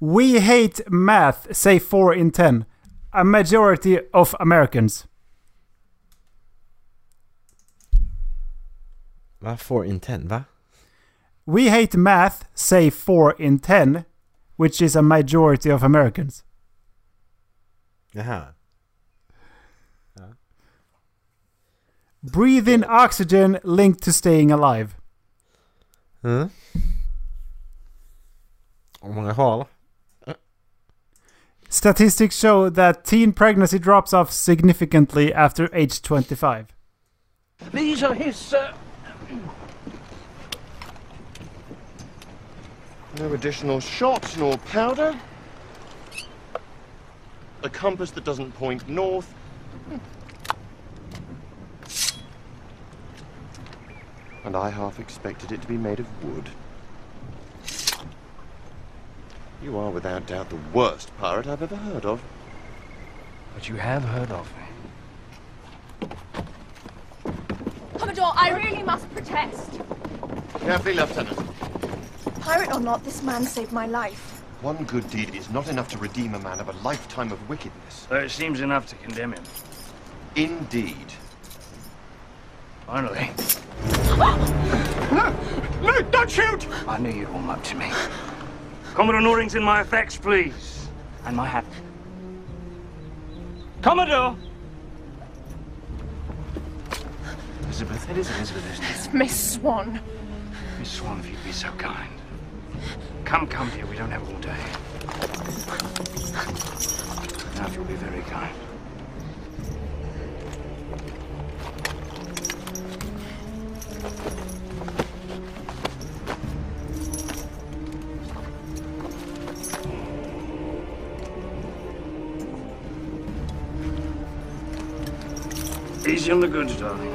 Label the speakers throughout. Speaker 1: We hate math, say 4 in 10. A majority of Americans.
Speaker 2: Va? Four in ten, va?
Speaker 1: We hate math, say 4 in 10, which is a majority of Americans.
Speaker 2: Jaha.
Speaker 1: Breathe in oxygen linked to staying alive.
Speaker 2: Mm. Hur många har?
Speaker 1: Statistics show that teen pregnancy drops off significantly after age 25.
Speaker 3: These are his. Uh...
Speaker 4: No additional shot nor powder. A compass that doesn't point north. And I half expected it to be made of wood. You are without doubt the worst pirate I've ever heard of.
Speaker 3: But you have heard of me.
Speaker 5: Commodore, I really must protest.
Speaker 4: Carefully, Lieutenant.
Speaker 5: Pirate or not, this man saved my life.
Speaker 4: One good deed is not enough to redeem a man of a lifetime of wickedness.
Speaker 3: Though it seems enough to condemn him.
Speaker 4: Indeed.
Speaker 3: Finally,
Speaker 4: No, don't shoot!
Speaker 3: I knew you'd warm up to me. Commodore Norrington, my effects, please. And my hat. Commodore! Elizabeth, it is Elizabeth, isn't it?
Speaker 5: Miss Swan.
Speaker 3: Miss Swan, if you'd be so kind. Come, come, dear, we don't have all day. Now, if you'll be very kind. Easy on the goods, darling.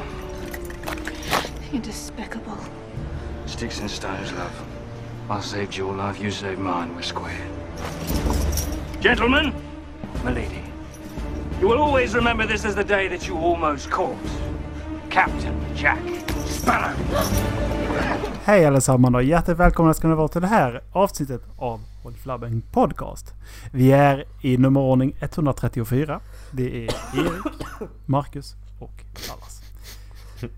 Speaker 5: You're despicable.
Speaker 3: Sticks and stones, love. I saved your life, you saved mine. We're squared. Gentlemen, my lady, you will always remember this as the day that you almost caught Captain Jack Sparrow.
Speaker 1: Hej allesammans och hjärtligt välkomna ska ni vara till det här avsnittet av Håll Flabben Podcast. Vi är i nummerordning 134. Det är Erik, Marcus och Dallas.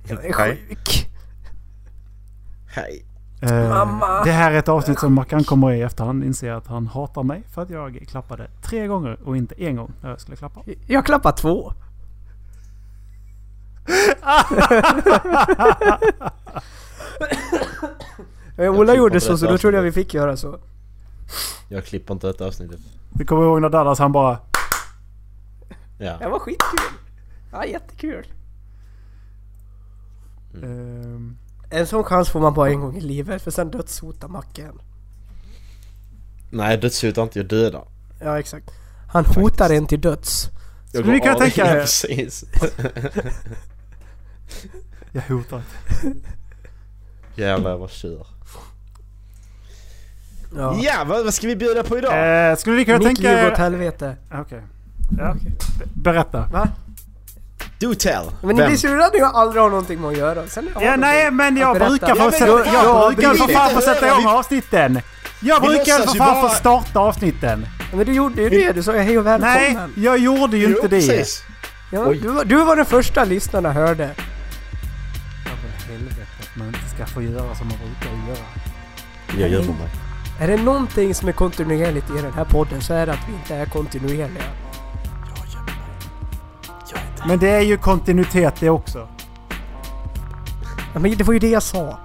Speaker 6: Jag är
Speaker 2: Hej.
Speaker 6: sjuk.
Speaker 2: Hej.
Speaker 1: Eh,
Speaker 6: Mamma.
Speaker 1: Det här är ett avsnitt som Mackan kommer i efterhand inser att han hatar mig för att jag klappade tre gånger och inte en gång när jag skulle klappa.
Speaker 6: Jag klappar två. Eh, Ola
Speaker 2: klipper
Speaker 6: gjorde
Speaker 2: på
Speaker 6: så, så
Speaker 2: detta
Speaker 6: då trodde jag vi fick göra så.
Speaker 2: Jag klipper inte detta avsnittet.
Speaker 1: Du kommer ihåg när Dallas han bara
Speaker 6: Det
Speaker 2: Ja.
Speaker 6: var skitkul. Ja, jättekul.
Speaker 1: ehm,
Speaker 6: En sån chans får man bara en gång i livet, för sen dödshotar Macken.
Speaker 2: Nej, dödshotar inte. Jag dödar.
Speaker 6: Ja, exakt. Han hotar en till döds.
Speaker 2: Jag
Speaker 1: Skulle ni
Speaker 2: går
Speaker 1: kunna
Speaker 2: av.
Speaker 1: tänka
Speaker 2: Ja,
Speaker 1: er-
Speaker 2: precis.
Speaker 1: Jag hotar inte.
Speaker 2: Jävlar, jag var tjur.
Speaker 6: Ja.
Speaker 2: Ja, vad, vad ska vi bjuda på idag?
Speaker 1: Eh, skulle ni kunna
Speaker 6: Mitt
Speaker 1: tänka
Speaker 6: liv åt
Speaker 1: er...
Speaker 6: helvete.
Speaker 1: Okej. Ja. Berätta.
Speaker 6: Va?
Speaker 2: Do tell!
Speaker 6: Men ni blir sura när jag aldrig har någonting med att göra. Sen har
Speaker 1: Ja,
Speaker 6: jag
Speaker 1: nej,
Speaker 6: någonting
Speaker 1: men
Speaker 6: att
Speaker 1: jag
Speaker 6: berätta.
Speaker 1: brukar få
Speaker 2: men
Speaker 1: sätta,
Speaker 2: då-
Speaker 1: jag
Speaker 2: ja,
Speaker 1: brukar
Speaker 2: vi
Speaker 1: för
Speaker 2: vill
Speaker 1: fan
Speaker 2: inte
Speaker 1: få sätta
Speaker 2: höra,
Speaker 1: igång
Speaker 2: vi-
Speaker 1: avsnitten. Jag
Speaker 2: Vi
Speaker 1: brukar
Speaker 2: låtsas
Speaker 1: för
Speaker 2: ju
Speaker 1: fan få
Speaker 2: bara-
Speaker 1: starta avsnitten.
Speaker 6: Men du gjorde ju det. Du sa ju hej och
Speaker 1: Nej,
Speaker 6: välkommen.
Speaker 1: jag gjorde ju inte det.
Speaker 2: precis.
Speaker 6: Ja,
Speaker 2: Oj.
Speaker 6: du, var- du var den första lyssnarna hörde.
Speaker 1: Ja, för helvete att man inte ska få göra som man brukar göra.
Speaker 2: Jag gömmer mig.
Speaker 6: Är det någonting som är kontinuerligt i den här podden så är det att vi inte är kontinuerliga.
Speaker 1: Men det är ju kontinuitet det också.
Speaker 6: Ja, men det var ju det jag sa.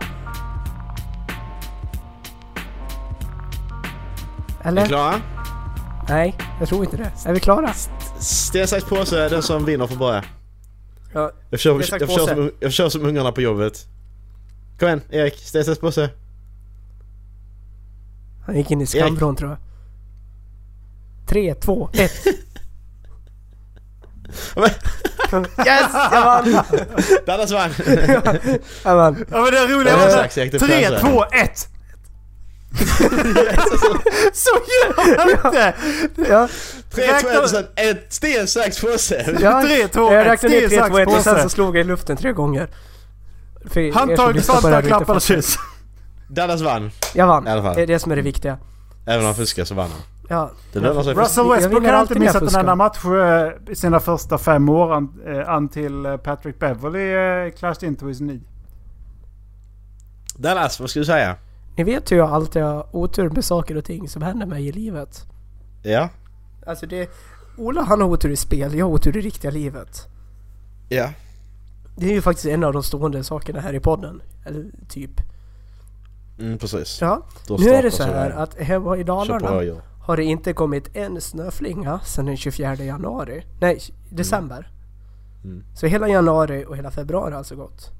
Speaker 2: Är ni
Speaker 6: Eller?
Speaker 2: klara?
Speaker 6: Nej, jag tror inte det. Är vi klara?
Speaker 2: Sten, sax, påse. Den som vinner får börja.
Speaker 6: Ja,
Speaker 2: Jag kör,
Speaker 6: Sten, sax,
Speaker 2: jag, kör
Speaker 6: påse.
Speaker 2: som, jag kör som ungarna på jobbet. Kom igen, Erik. Sten, sax, påse.
Speaker 6: han gick in i skambron tror jag. Tre, två, ett.
Speaker 2: Men-
Speaker 6: Yes! Jag vann!
Speaker 2: Dallas vann!
Speaker 6: Jag vann.
Speaker 1: Ja men det roliga
Speaker 2: Ja,
Speaker 1: var
Speaker 2: exakt, jag
Speaker 1: det.
Speaker 2: gick
Speaker 1: Tre,
Speaker 2: fram så här.
Speaker 1: två, ett! Så gör man inte!
Speaker 6: Ja,
Speaker 2: Tre, två, ett, och sen ett sten, sax, påse.
Speaker 6: ja.
Speaker 1: Tre, två,
Speaker 6: jag
Speaker 1: ett,
Speaker 6: räknade ner
Speaker 1: sten,
Speaker 6: tre,
Speaker 1: sax,
Speaker 6: två, ett och sen
Speaker 1: påse.
Speaker 6: så slog jag i luften tre gånger. För er som
Speaker 1: Handtag,
Speaker 6: lyssnar på det här
Speaker 1: svantag,
Speaker 6: riktigt
Speaker 1: klappar,
Speaker 6: fast-
Speaker 1: kyss.
Speaker 2: Dallas vann.
Speaker 6: Jag vann.
Speaker 2: I alla fall.
Speaker 6: Det är det som är det viktiga.
Speaker 2: Även om han fuskade så vann han.
Speaker 6: Ja,
Speaker 2: Det lönar sig. för-
Speaker 1: Russell
Speaker 6: Jag
Speaker 1: Westbrook
Speaker 6: vinner
Speaker 1: har
Speaker 6: alltid
Speaker 1: alltid
Speaker 6: när jag
Speaker 1: missat en
Speaker 6: fuskar.
Speaker 1: enda match eh, i sina första fem år an- eh, until eh, Patrick Beverly eh, clashed into his knee.
Speaker 2: Dallas, vad ska du säga?
Speaker 6: ni vet ju jag alltid har otur med saker och ting som händer mig i livet.
Speaker 2: Ja.
Speaker 6: Alltså det... Ola han har otur i spel, jag har otur i riktiga livet.
Speaker 2: Ja.
Speaker 6: Det är ju faktiskt en av de stående sakerna här i podden. Eller typ.
Speaker 2: Mm, precis.
Speaker 6: Ja.
Speaker 2: Då
Speaker 6: Nu är det
Speaker 2: startar
Speaker 6: så här
Speaker 2: sådär.
Speaker 6: att hemma i
Speaker 2: Kör på
Speaker 6: Dalarna
Speaker 2: höger.
Speaker 6: har det inte kommit en snöflinga sedan den 24 januari. Nej, december.
Speaker 2: Mm.
Speaker 6: Så hela januari och hela februari har alltså gått.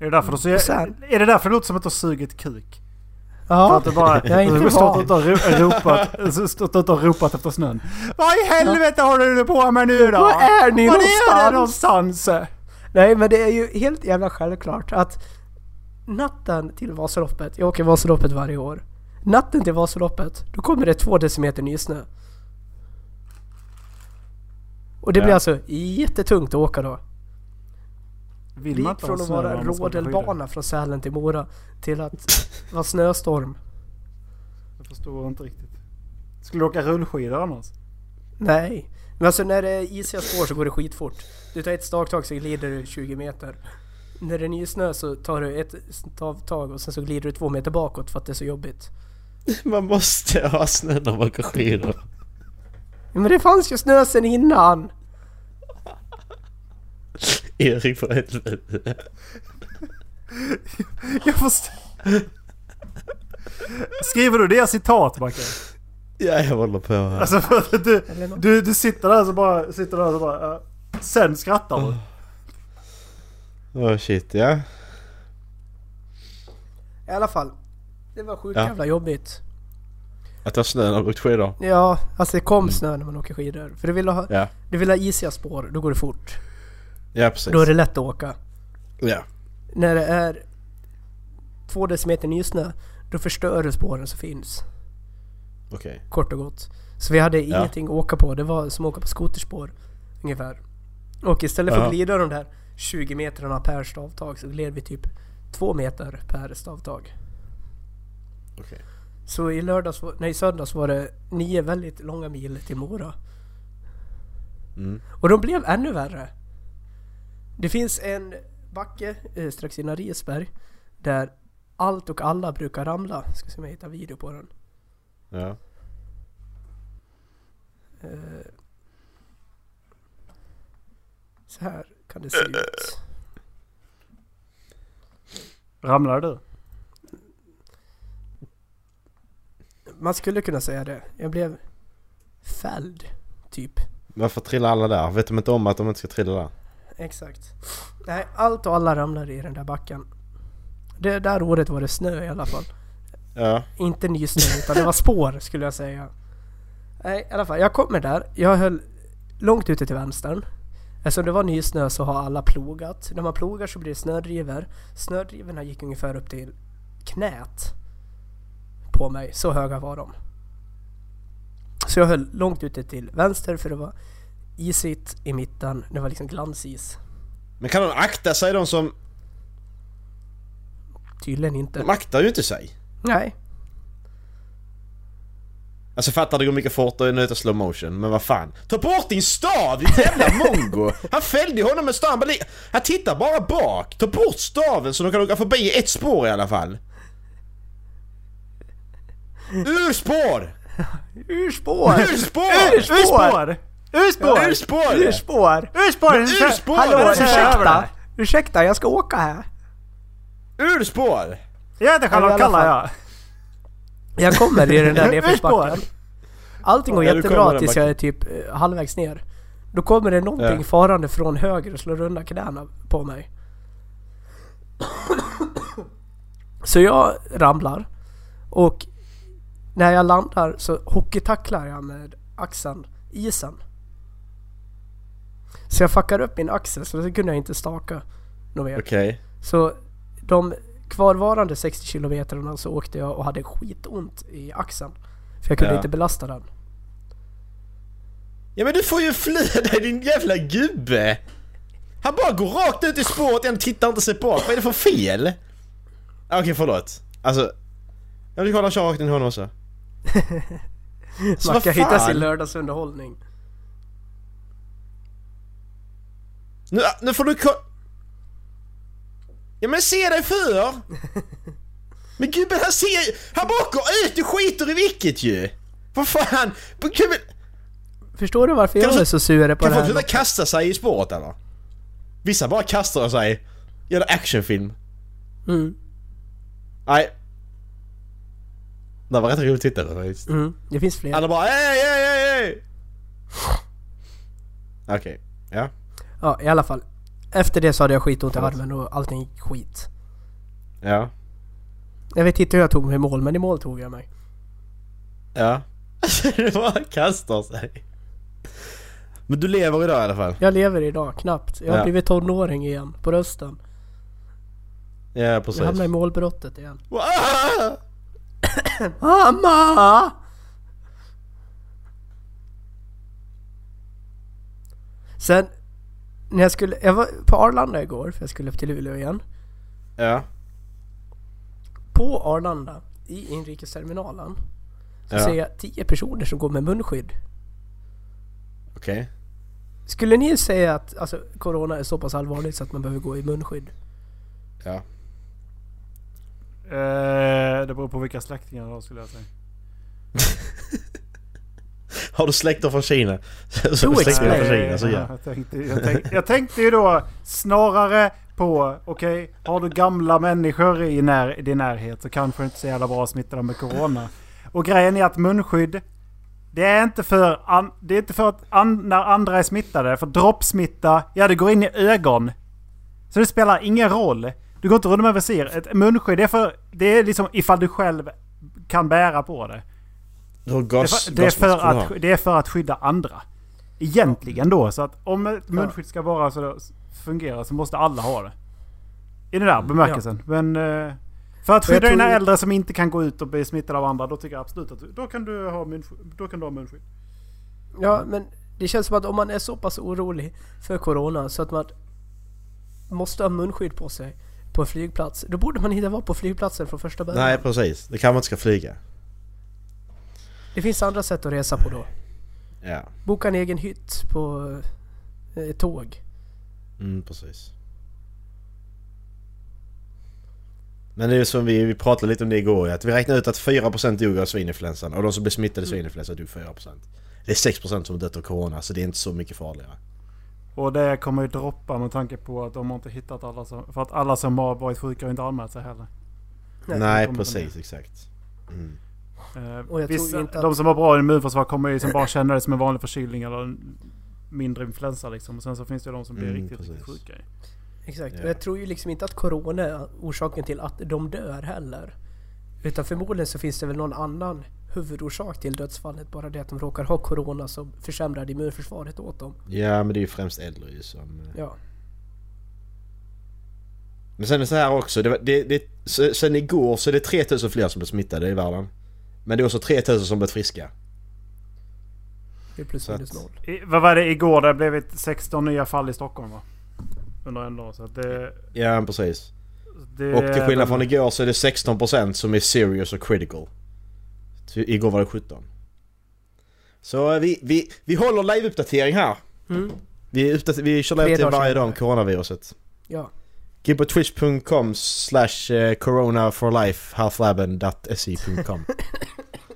Speaker 1: Är det därför, du, så,
Speaker 6: Och sen-
Speaker 1: är det, därför det låter som att du har sugit kuk? För
Speaker 6: Ja,
Speaker 1: att du bara
Speaker 6: jag är
Speaker 1: du har
Speaker 6: inte
Speaker 1: stått
Speaker 6: van.
Speaker 1: ute och ro- ropat, så- stått ute och ropat efter snön. Vad i helvete håller du på med nu då?
Speaker 6: Var är ni
Speaker 1: Var är det
Speaker 6: någonstans?
Speaker 1: någonstans?
Speaker 6: Nej men det är ju helt jävla självklart att natten till Vasaloppet, jag åker Vasaloppet varje år. Natten till Vasaloppet, då kommer det två decimeter nysnö. Och det
Speaker 2: Ja.
Speaker 6: blir alltså jättetungt att åka då.
Speaker 1: Vill
Speaker 6: Det
Speaker 1: man
Speaker 6: gick
Speaker 1: inte
Speaker 6: från
Speaker 1: ha
Speaker 6: att
Speaker 1: snö
Speaker 6: vara
Speaker 1: om man ska skydda?
Speaker 6: rodelbana från Sälen till Mora till att vara snöstorm.
Speaker 1: Jag förstår inte riktigt. Skulle du åka rullskidor annars?
Speaker 6: Nej. Men alltså när det är isiga spår så går det skitfort. Du tar ett stavtag så glider du 20 meter. När det är nysnö så tar du ett stavtag och sen så glider du två meter bakåt för att det är så jobbigt.
Speaker 2: Man måste ha snö när man åker skidor.
Speaker 6: Men det fanns ju snö sen innan!
Speaker 2: Erik för helvete.
Speaker 1: Jag förstår. Skriver du det citat Macke?
Speaker 2: Ja, jag håller på här.
Speaker 1: Alltså för att du,
Speaker 6: Eller något.
Speaker 1: du, du sitter där så bara, sitter där så bara, ja. sen skrattar du.
Speaker 2: Åh Oh, shit, ja.
Speaker 6: I alla fall. Det var sjukt
Speaker 2: Ja.
Speaker 6: jävla jobbigt.
Speaker 2: Att ha snö när man åkt skidor.
Speaker 6: Ja, alltså det kom snö när man åker skidor. För du vill ha,
Speaker 2: Mm. Ja.
Speaker 6: du vill ha isiga spår, då går det fort.
Speaker 2: Ja, precis.
Speaker 6: Då är det lätt att åka.
Speaker 2: Ja.
Speaker 6: När det är två decimeter nysnö, då förstör du spåren som finns.
Speaker 2: Okej.
Speaker 6: Kort och gott. Så vi hade
Speaker 2: Ja.
Speaker 6: ingenting att åka på. Det var som att åka på skoterspår. Ungefär. Och istället för att
Speaker 2: Ja.
Speaker 6: glida de där 20 metrarna per stavtag så gled vi typ 2 meter per stavtag.
Speaker 2: Okej.
Speaker 6: Så i lördags, var- nej i söndags var det nio väldigt långa mil till Mora.
Speaker 2: Mm.
Speaker 6: Och de blev ännu värre. Det finns en backe eh, strax innan Risberg där allt och alla brukar ramla. Ska se om jag hittar video på den.
Speaker 2: Ja.
Speaker 6: Eh, Så här kan det se ut.
Speaker 1: Ramlar du?
Speaker 6: Man skulle kunna säga det. Jag blev fälld, typ.
Speaker 2: Varför trillar alla där? Vet de inte om att de inte ska trilla där?
Speaker 6: Exakt. Nej, allt och alla ramlade i den där backen. Det där året var det snö i alla fall.
Speaker 2: Ja.
Speaker 6: Inte nysnö, utan det var spår skulle jag säga. Nej, i alla fall. Jag kommer där. Jag höll långt ute till vänstern. Eftersom det var nysnö så har alla plogat. När man plogar så blir det snödrivor. Snödrivorna gick ungefär upp till knät på mig. Så höga var de. Så jag höll långt ute till vänster för det var isigt i mitten. Det var liksom glansis.
Speaker 2: Men kan de akta sig de som...
Speaker 6: Tydligen inte.
Speaker 2: De aktar ju inte sig.
Speaker 6: Nej.
Speaker 2: Alltså fattar du hur mycket fort det är nu slow motion, men vad fan. Ta bort din stav, ditt jävla mongo! Han fällde ju honom med staven, bara li- han tittar bara bak! Ta bort staven så de kan åka förbi ett spår i alla fall! Ur spår!
Speaker 6: Urspår!
Speaker 2: Ur spår!
Speaker 6: Urspår!
Speaker 1: Urspår! Urspår!
Speaker 2: Ur spår!
Speaker 6: Urspår!
Speaker 1: Urspår!
Speaker 2: Men urspår!
Speaker 1: Hallå,
Speaker 2: Hallå,
Speaker 1: ursäkta!
Speaker 6: Ursäkta! Ursäkta, jag ska åka här.
Speaker 2: Ur spår!
Speaker 1: Jag heter Charlotte
Speaker 6: I alla
Speaker 1: Kalla
Speaker 6: fall.
Speaker 1: jag.
Speaker 6: Jag kommer i den där
Speaker 1: Urspår!
Speaker 6: nedförsbacken. Allting går
Speaker 2: Ja, du kommer
Speaker 6: jättebra
Speaker 2: den
Speaker 6: tills
Speaker 2: backen.
Speaker 6: jag är typ eh, halvvägs ner. Då kommer det någonting
Speaker 2: Ja.
Speaker 6: farande från höger och slår undan knäna på mig. Så jag ramlar. Och när jag landar så hockeytacklar jag med axeln, isen. Så jag fuckar upp min axel så då kunde jag inte staka något mer.
Speaker 2: Okej.
Speaker 6: Så de kvarvarande 60 kilometrarna så åkte jag och hade skitont i axeln. För jag kunde
Speaker 2: Ja.
Speaker 6: inte belasta den.
Speaker 2: Ja men du får ju flöda din jävla gubbe! Han bara går rakt ut i spåret, han tittar inte sig bak. Vad är det för fel? Ah, Okej, förlåt. Alltså... Jag vill kolla och köra rakt in i honom också. Så
Speaker 6: Man
Speaker 2: vad
Speaker 6: kan hitta
Speaker 2: fan?
Speaker 6: sin lördagsunderhållning.
Speaker 2: Nu, ah, nu får du ko- Ja men se dig för! Men gubben han ser Han bara åker ut och skiter i vilket ju! Vad fan! Men Gubben,
Speaker 6: Förstår du varför
Speaker 2: Kan
Speaker 6: jag
Speaker 2: du-
Speaker 6: är så sur
Speaker 2: kan
Speaker 6: på det
Speaker 2: folk
Speaker 6: här?
Speaker 2: sluta kasta sig i spåret eller? Vissa bara kastar sig. Gör en actionfilm.
Speaker 6: Mm.
Speaker 2: Nej. Det var rätt roligt att titta på faktiskt.
Speaker 6: Mm. Det finns fler.
Speaker 2: Alla bara ej, ej, ej, ej! Okej, ja.
Speaker 6: Ja, i alla fall. Efter det så hade jag skitont i armen och allting gick skit.
Speaker 2: Ja.
Speaker 6: Jag vet inte hur jag tog mig i mål, men i mål tog jag mig.
Speaker 2: Ja.
Speaker 6: Alltså,
Speaker 2: du bara kastar sig. Men du lever idag i alla fall.
Speaker 6: Jag lever idag, knappt. Jag har
Speaker 2: Ja.
Speaker 6: blivit tonåring igen, på rösten.
Speaker 2: Ja, precis.
Speaker 6: Jag hamnar i målbrottet igen.
Speaker 2: Ah!
Speaker 6: Mamma! Sen, när jag skulle... Jag var på Arlanda igår, för jag skulle upp till Luleå igen.
Speaker 2: Ja.
Speaker 6: På Arlanda, i inrikesterminalen, så
Speaker 2: Ja.
Speaker 6: ser jag 10 personer som går med munskydd.
Speaker 2: Okej.
Speaker 6: Skulle ni säga att alltså, corona är så pass allvarligt så att man behöver gå i munskydd?
Speaker 2: Ja.
Speaker 1: Eh, det beror på vilka släktingar du har skulle jag säga.
Speaker 2: Har du släkter från Kina? Så
Speaker 6: Do
Speaker 2: släktingar
Speaker 6: explain.
Speaker 2: från Kina, så
Speaker 1: ja,
Speaker 2: ja.
Speaker 1: jag, tänkte, jag, tänkte, jag tänkte ju då snarare på, okej, har du gamla människor i när, din närhet så kanske du inte är så jävla bra att smitta dem med corona. Och grejen är att munskydd, det är inte för, an, det är inte för att an, när andra är smittade, för droppsmitta, ja det går in i ögon. Så det spelar ingen roll. Du går inte runt med visir. Ett munskydd, det är, för, det är liksom ifall du själv kan bära på det.
Speaker 2: Du har
Speaker 1: Det är
Speaker 2: gas,
Speaker 1: för, det, är för
Speaker 2: gasmask.
Speaker 1: att, det är för att skydda andra. Egentligen då. Så att om ett munskydd ska vara så då, fungera så måste alla ha det. I den där bemärkelsen. Men eh, för att
Speaker 6: Och jag
Speaker 1: skydda dina
Speaker 6: tror-
Speaker 1: äldre som inte kan gå ut och bli smittade av andra. Då tycker jag absolut att du, då kan du ha munskydd. Då kan du ha munskydd.
Speaker 6: Ja, men det känns som att om man är så pass orolig för corona så att man måste ha munskydd på sig på en flygplats, då borde man inte vara på flygplatsen från första början.
Speaker 2: Nej, precis. Det kan man inte ska flyga.
Speaker 6: Det finns andra sätt att resa på då.
Speaker 2: Ja.
Speaker 6: Boka en egen hytt på eh, tåg.
Speaker 2: Mm, precis. Men det är ju som vi, vi pratade lite om det igår, att vi räknade ut att 4% dog av svininfluensan och de som blev
Speaker 1: Mm.
Speaker 2: smittade i svininfluensan dog 4%. Det är 6% som dött av corona, så det är inte så mycket farligare.
Speaker 1: Och det kommer ju droppa med tanke på att de har inte hittat alla som... För att alla som har varit sjuka har inte anmält sig heller.
Speaker 6: Nej,
Speaker 2: Nej,
Speaker 1: det kommer
Speaker 2: precis,
Speaker 1: inte.
Speaker 2: exakt.
Speaker 1: Eh,
Speaker 6: Och jag tror
Speaker 1: vissa,
Speaker 6: inte att-
Speaker 1: De som har bra immunförsvar kommer ju liksom bara känna det som en vanlig förkylning eller en mindre influensa liksom. Och sen så finns det ju de som blir
Speaker 2: Mm,
Speaker 1: riktigt, riktigt
Speaker 2: precis.
Speaker 1: sjuka. ju.
Speaker 6: Exakt, och
Speaker 2: Ja.
Speaker 6: jag tror ju liksom inte att corona är orsaken till att de dör heller. Utan förmodligen så finns det väl någon annan huvudorsak till dödsfallet, bara det att de råkar ha corona som försämrar immunförsvaret åt dem.
Speaker 2: Ja, men det är ju främst äldre ju som... eh,
Speaker 6: Ja.
Speaker 2: Men sen är det så här också, det, var- det, det, se- sen igår så är det 3000 fler som blev smittade i världen. Men det är också 3000 som blivit friska.
Speaker 6: Det är plus
Speaker 2: Så att-
Speaker 6: minus noll.
Speaker 1: I, vad var det igår? Det har blivit 16 nya fall i Stockholm va? Under en dag. Så att det,
Speaker 2: Ja, precis.
Speaker 1: det,
Speaker 2: Och till skillnad från igår så är det 16% som är serious och critical. Så igår var det 17. Så eh, vi, vi, vi håller live-uppdatering här. Vi, är uppdater- vi kör live till
Speaker 6: dagar
Speaker 2: varje dag
Speaker 6: senare.
Speaker 2: om coronaviruset.
Speaker 6: Ja.
Speaker 2: Gå in på twitch.com slash eh, coronaforlifehalflabben.se.com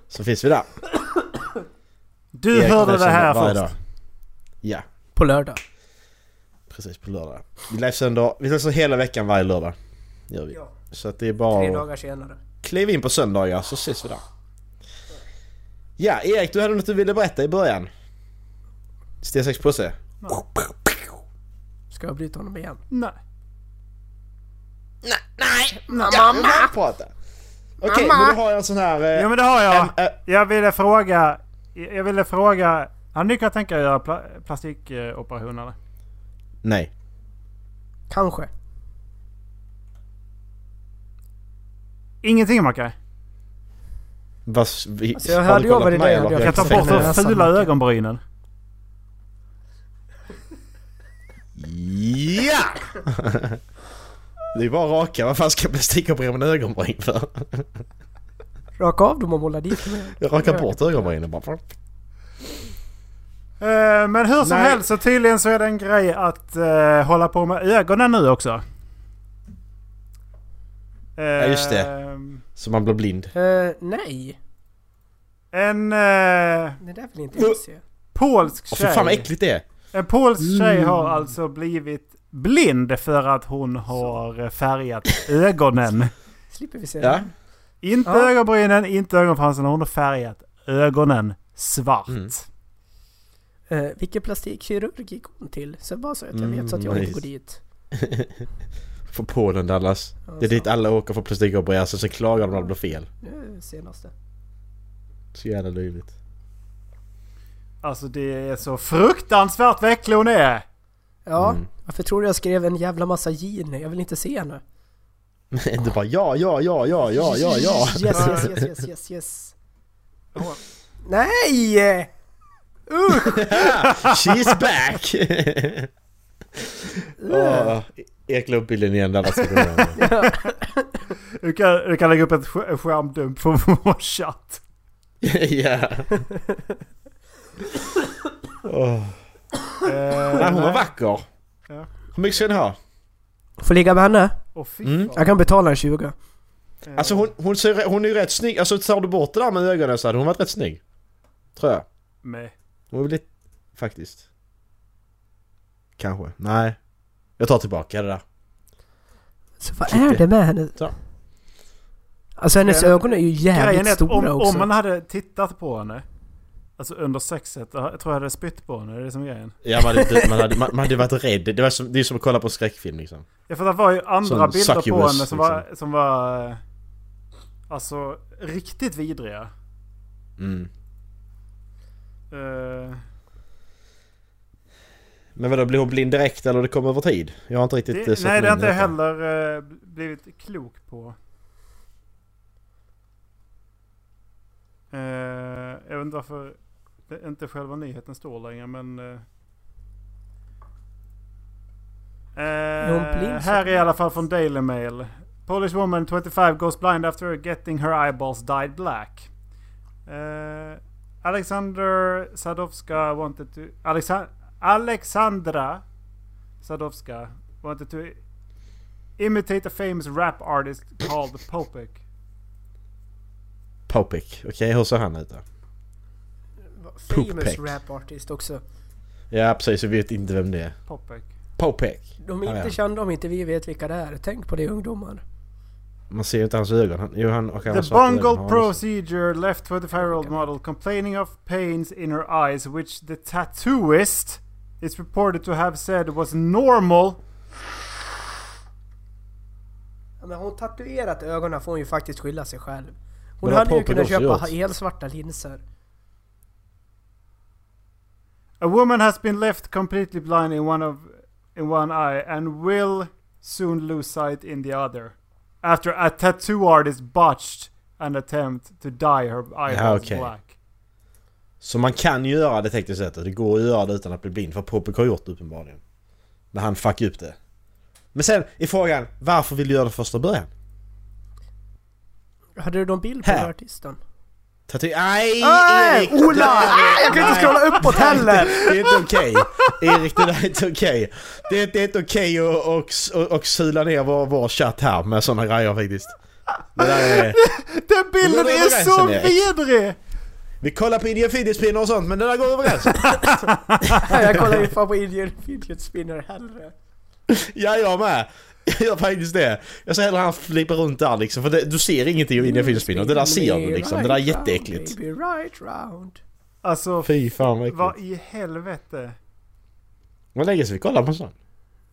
Speaker 2: Så finns vi där.
Speaker 1: Du
Speaker 2: Erik
Speaker 1: hörde det
Speaker 2: livesänder
Speaker 1: här
Speaker 2: varje
Speaker 1: först.
Speaker 2: dag. Ja,
Speaker 6: På lördag.
Speaker 2: precis på lördag. Vi livesänder, vi livesänder hela veckan varje lördag. Gör vi.
Speaker 6: Ja.
Speaker 2: Så att det är
Speaker 6: Tre
Speaker 2: bara att
Speaker 6: dagar senare.
Speaker 2: kliva in på söndagar så ses vi där. Ja, Erik du hade något du ville berätta i början. Sten, sax, påse.
Speaker 6: Ska jag bryta honom igen?
Speaker 1: Nej.
Speaker 2: Mamma! Prata. Okej, men då har jag en sån här... Eh,
Speaker 1: Jo men det har jag.
Speaker 2: en, eh,
Speaker 1: Jag ville fråga... Jag ville fråga... Han kan tänka göra pla- plastikoperationer?
Speaker 2: nej.
Speaker 6: Kanske.
Speaker 1: Ingenting Macke?
Speaker 2: Vas, vi,
Speaker 6: Alltså, jag
Speaker 2: har
Speaker 6: hörde
Speaker 2: du
Speaker 6: ju
Speaker 2: kollat
Speaker 6: vad det
Speaker 2: mig,
Speaker 6: där
Speaker 2: eller?
Speaker 6: hade jag
Speaker 1: Jag tar
Speaker 2: har
Speaker 6: försökt
Speaker 1: bort
Speaker 2: inte
Speaker 6: med
Speaker 1: de
Speaker 2: sett
Speaker 6: näsan,
Speaker 1: fula
Speaker 6: Macke.
Speaker 1: ögonbrynen.
Speaker 2: det. Ja! Det är bara raka. Vad fan ska jag bli stickopererad med ögonbryn för?
Speaker 6: Raka av dem och måla dit dem igen.
Speaker 2: Jag rakar bort ögonbrynen bara.
Speaker 1: Eh, men hur som
Speaker 2: Nej.
Speaker 1: helst så tydligen så är det en grej att eh, hålla på med ögonen nu också. ja
Speaker 2: just det.
Speaker 1: Eh,
Speaker 2: Så man blir blind.
Speaker 6: Eh, nej,
Speaker 1: En eh,
Speaker 6: det där vill inte jag se.
Speaker 1: polsk
Speaker 2: Åh fy fan vad
Speaker 1: tjej.
Speaker 2: äckligt det är.
Speaker 1: En polsk Eh, tjej
Speaker 6: Mm.
Speaker 1: har alltså blivit blind för att hon har eh, färgat ögonen.
Speaker 6: Slipper vi se
Speaker 2: Ja.
Speaker 6: det.
Speaker 1: Inte
Speaker 6: Ja.
Speaker 1: ögonbrynen, inte ögonfransarna. Hon har färgat ögonen svart.
Speaker 2: Mm.
Speaker 6: Eh, vilken plastikkirurg gick hon till? Så bara så att jag vet så att jag
Speaker 2: Mm,
Speaker 6: inte går
Speaker 2: nice.
Speaker 6: dit.
Speaker 2: Från Polen Dallas. Det är dit alla åker för plastikopererad så sen klagar de när det blir fel.
Speaker 6: Nu eh, senaste.
Speaker 2: Så jävla löjligt.
Speaker 1: Alltså det är så fruktansvärt väcklig hon är.
Speaker 6: Ja,
Speaker 2: Mm.
Speaker 6: varför tror du jag skrev en jävla massa gin? Jag vill inte se henne.
Speaker 2: Du bara ja, ja, ja, ja, ja, ja, ja.
Speaker 6: Yes, yes, yes, yes, yes, yes. Nej!
Speaker 2: She's back! Åh, Ekla upp bilden igen Dallas.
Speaker 1: Du kan, du kan lägga upp ett sk- skärmdump på vår chatt.
Speaker 2: Ja. Åh.
Speaker 6: Eh,
Speaker 2: Nej, hon var vacker.
Speaker 1: Ja.
Speaker 2: Hur mycket ska ni ha?
Speaker 6: Får ligga med henne?
Speaker 1: Åh, fy
Speaker 2: Mm.
Speaker 1: fan.
Speaker 6: Jag kan betala en 20.
Speaker 2: Alltså hon, hon, ser, hon är ju rätt snygg. Alltså tar du bort det där med ögonen så hade hon varit rätt snygg. Tror jag.
Speaker 1: Nej.
Speaker 2: Hon är lite... Faktiskt. Kanske. Nej. Jag tar tillbaka det där.
Speaker 6: Så vad
Speaker 2: Klick
Speaker 6: är
Speaker 2: det.
Speaker 6: det med henne?
Speaker 2: Så.
Speaker 6: Alltså hennes
Speaker 1: Grejen-
Speaker 6: ögon är ju
Speaker 1: Eh, Grejen
Speaker 6: jävligt
Speaker 1: är att om,
Speaker 6: stora också.
Speaker 1: om man hade tittat på henne. Alltså under sexet. Jag tror jag hade spytt på henne. Det är det som är grejen.
Speaker 2: Ja, man, hade, man, hade, man, man hade varit rädd. Det, var som, det är som att kolla på en skräckfilm liksom.
Speaker 1: Ja, för det var ju andra
Speaker 2: Som
Speaker 1: bilder på henne
Speaker 2: succubus, liksom.
Speaker 1: som var... Som var eh, alltså riktigt vidriga.
Speaker 2: Mm.
Speaker 1: Eh,
Speaker 2: Men vadå, blir hon blind direkt eller det kommer över tid? Jag har inte riktigt eh,
Speaker 1: det,
Speaker 2: sett
Speaker 1: nej, det har
Speaker 2: in
Speaker 1: inte
Speaker 2: i
Speaker 1: jag
Speaker 2: detta.
Speaker 1: heller eh, blivit klok på. Eh, jag vet inte varför det inte själva nyheten står längre, men... Eh,
Speaker 6: Är hon blind,
Speaker 1: eh,
Speaker 6: så?
Speaker 1: här är i alla fall från Daily Mail. Polish woman 25 goes blind after getting her eyeballs dyed black. Eh, Alexander Sadowska wanted to... Alexa- Alexandra Sadowska wanted to imitate a famous rap artist called Popek.
Speaker 2: Popek. Okej, hur ser han ut då?
Speaker 6: Famous
Speaker 2: Poop-peck.
Speaker 6: rap artist också.
Speaker 2: Ja, precis. Jag vet inte vem det är.
Speaker 1: Popek.
Speaker 2: Popek.
Speaker 6: De är
Speaker 2: Ja,
Speaker 6: inte
Speaker 2: ja.
Speaker 6: kända om inte vi vet vilka det är. Tänk på det ungdomar.
Speaker 2: Man ser ju inte hans ögon. Han, jo, han, och han har
Speaker 1: The
Speaker 2: svarta ögon.
Speaker 1: bungled
Speaker 2: Har liksom- han också.
Speaker 1: procedure left 25 year old model complaining of pains in her eyes, which the tattooist is reported to have said was normal.
Speaker 6: Ja, men har hon tatuerat ögonen får hon ju faktiskt skylla sig själv. Hon
Speaker 2: Men har
Speaker 6: hade ju
Speaker 2: Popper
Speaker 6: kunnat
Speaker 2: också
Speaker 6: köpa
Speaker 2: gjort?
Speaker 6: ha- elsvarta linser.
Speaker 1: A woman has been left completely blind in one of in one eye and will soon lose sight in the other after a tattoo artist botched an attempt to dye her eyeballs
Speaker 2: okay.
Speaker 1: black.
Speaker 2: Så man kan ju göra det tekniskt sett. Det går att göra det utan att bli blind. För Popek har gjort det uppenbarligen. När han fuckade upp det. Men sen är frågan, varför vill du göra det första början?
Speaker 6: Hade du någon bild på
Speaker 2: Här.
Speaker 6: den här artisten?
Speaker 2: Tatu... Nej!
Speaker 6: Nej!
Speaker 2: Erik!
Speaker 6: Ola! Ah, jag kan inte
Speaker 2: Nej.
Speaker 6: scrolla uppåt heller!
Speaker 2: Det är inte okej. Erik, det där är inte okej. Det, är- det är inte okej att och, och, och sula ner vår, vår chatt här med sådana grejer faktiskt. Det där är,
Speaker 1: Den bilden
Speaker 2: Men det är
Speaker 1: är så
Speaker 2: gränsen, Erik.
Speaker 1: vidrig!
Speaker 2: vi kollar på Indian Fidget-spinner och sånt men det där går över gränsen.
Speaker 6: jag kollar ju fan på Indian Fidget Spinner hellre.
Speaker 2: Ja, jag med. Jag gör faktiskt det. Jag ser hellre han flippa runt där liksom för det, du ser ingenting av Indian Fidget-spinner. Det där ser du liksom. Det där är jätteäckligt.
Speaker 6: Baby, right round.
Speaker 1: Alltså,
Speaker 2: Fy fan vad
Speaker 1: vad
Speaker 2: äckligt.
Speaker 1: i helvete?
Speaker 2: Vad länge ska vi kolla på en sån?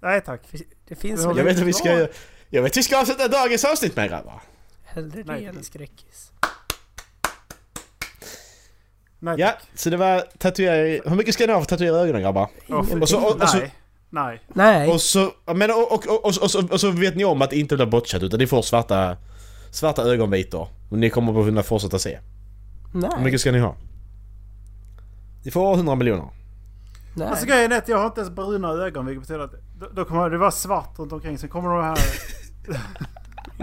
Speaker 1: Nej tack.
Speaker 6: Det finns
Speaker 1: Jag
Speaker 6: väl
Speaker 2: Jag vet
Speaker 6: inte
Speaker 2: att vi
Speaker 6: kvar.
Speaker 2: ska... Jag vet att vi ska avsluta dagens avsnitt med grabbar.
Speaker 6: Hellre det
Speaker 1: Nej.
Speaker 6: än en skräckis.
Speaker 1: Nej
Speaker 2: Ja,
Speaker 1: tack.
Speaker 2: så det var tatuering... Hur mycket ska ni ha för att tatuera ögonen grabbar?
Speaker 1: Åh, fy-
Speaker 2: Och så- och- och så-
Speaker 1: nej. Nej.
Speaker 6: Nej,
Speaker 2: Och så, men och, och, och, och, och, så- och så vet ni om att det inte blir botchat utan ni får svarta, svarta ögonvitor. Och ni kommer att kunna fortsätta se. Hur
Speaker 6: nej,
Speaker 2: mycket ska ni ha? Ni får 100 miljoner.
Speaker 1: Alltså
Speaker 6: nej.
Speaker 1: grejen är att jag har inte ens bruna ögon vilket betyder att då, då kommer det vara svart runt omkring sen kommer de här...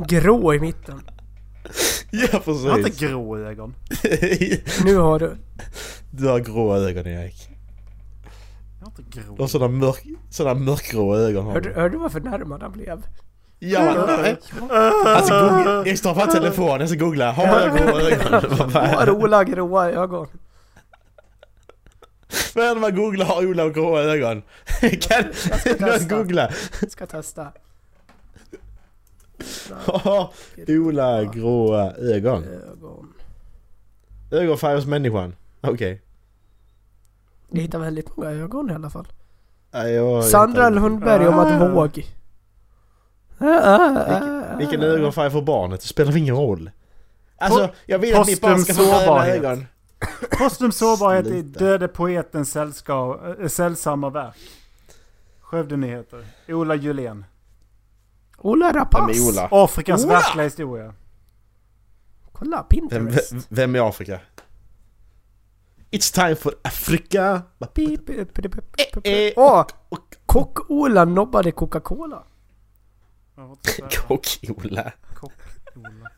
Speaker 6: Grå i mitten.
Speaker 2: Ja
Speaker 1: Du har inte
Speaker 2: precis.
Speaker 1: grå ögon.
Speaker 6: Nu har du...
Speaker 2: Du har grå ögon Erik.
Speaker 1: Jag har inte grå.
Speaker 2: Du har sådana, mörk, sådana mörkgrå ögon har
Speaker 6: Hörde,
Speaker 2: du.
Speaker 6: hörde du vad förnärmad han blev?
Speaker 2: Ja, nej. Alltså googla, jag står på telefonen, jag ska googla. Har jag grå ögon? Vad fan?
Speaker 6: Har Ola gråa ögon?
Speaker 2: Vad är det man googlar? Har Ola grå ögon? Kan någon
Speaker 6: testa.
Speaker 2: googla?
Speaker 6: Ska testa.
Speaker 2: Har Ola gråa ögon?
Speaker 6: Ögon.
Speaker 2: Ögonfärg hos människan? Okej.
Speaker 6: Ni hittar väldigt många ögon i alla fall.
Speaker 2: Nej, jag-
Speaker 6: Sandra
Speaker 2: jag-
Speaker 6: Lundberg om
Speaker 1: Ah.
Speaker 6: att våg. Ah, ah, ah,
Speaker 2: Vilken
Speaker 6: ah.
Speaker 2: ögonfärg får barnet? Det spelar ingen roll. Alltså,
Speaker 1: Po-
Speaker 2: jag vill att mitt barn ska få
Speaker 1: postum
Speaker 2: gröna
Speaker 1: sårbarhet.
Speaker 2: ögon.
Speaker 1: Postum sårbarhet i
Speaker 2: Sluta.
Speaker 1: Döde poetens sällska- äh, sällsamma verk. Skövde Nyheter. Ola Julén.
Speaker 6: Ola
Speaker 2: Vem
Speaker 6: Rapace.
Speaker 2: är Ola?
Speaker 1: Afrikas
Speaker 2: Ola!
Speaker 1: verkliga historia.
Speaker 6: Kolla,
Speaker 2: Vem,
Speaker 6: Pinterest.
Speaker 2: vem- vem är Afrika? It's time for Africa!
Speaker 6: Pip, pip, pip, pip,
Speaker 2: Eh,
Speaker 6: pip,
Speaker 2: eh,
Speaker 6: pip. Åh!
Speaker 2: och-
Speaker 6: Kock-Ola nobbade Coca-Cola.
Speaker 1: Jag får inte säga.
Speaker 2: Kock-Ola.
Speaker 1: Kock-Ola.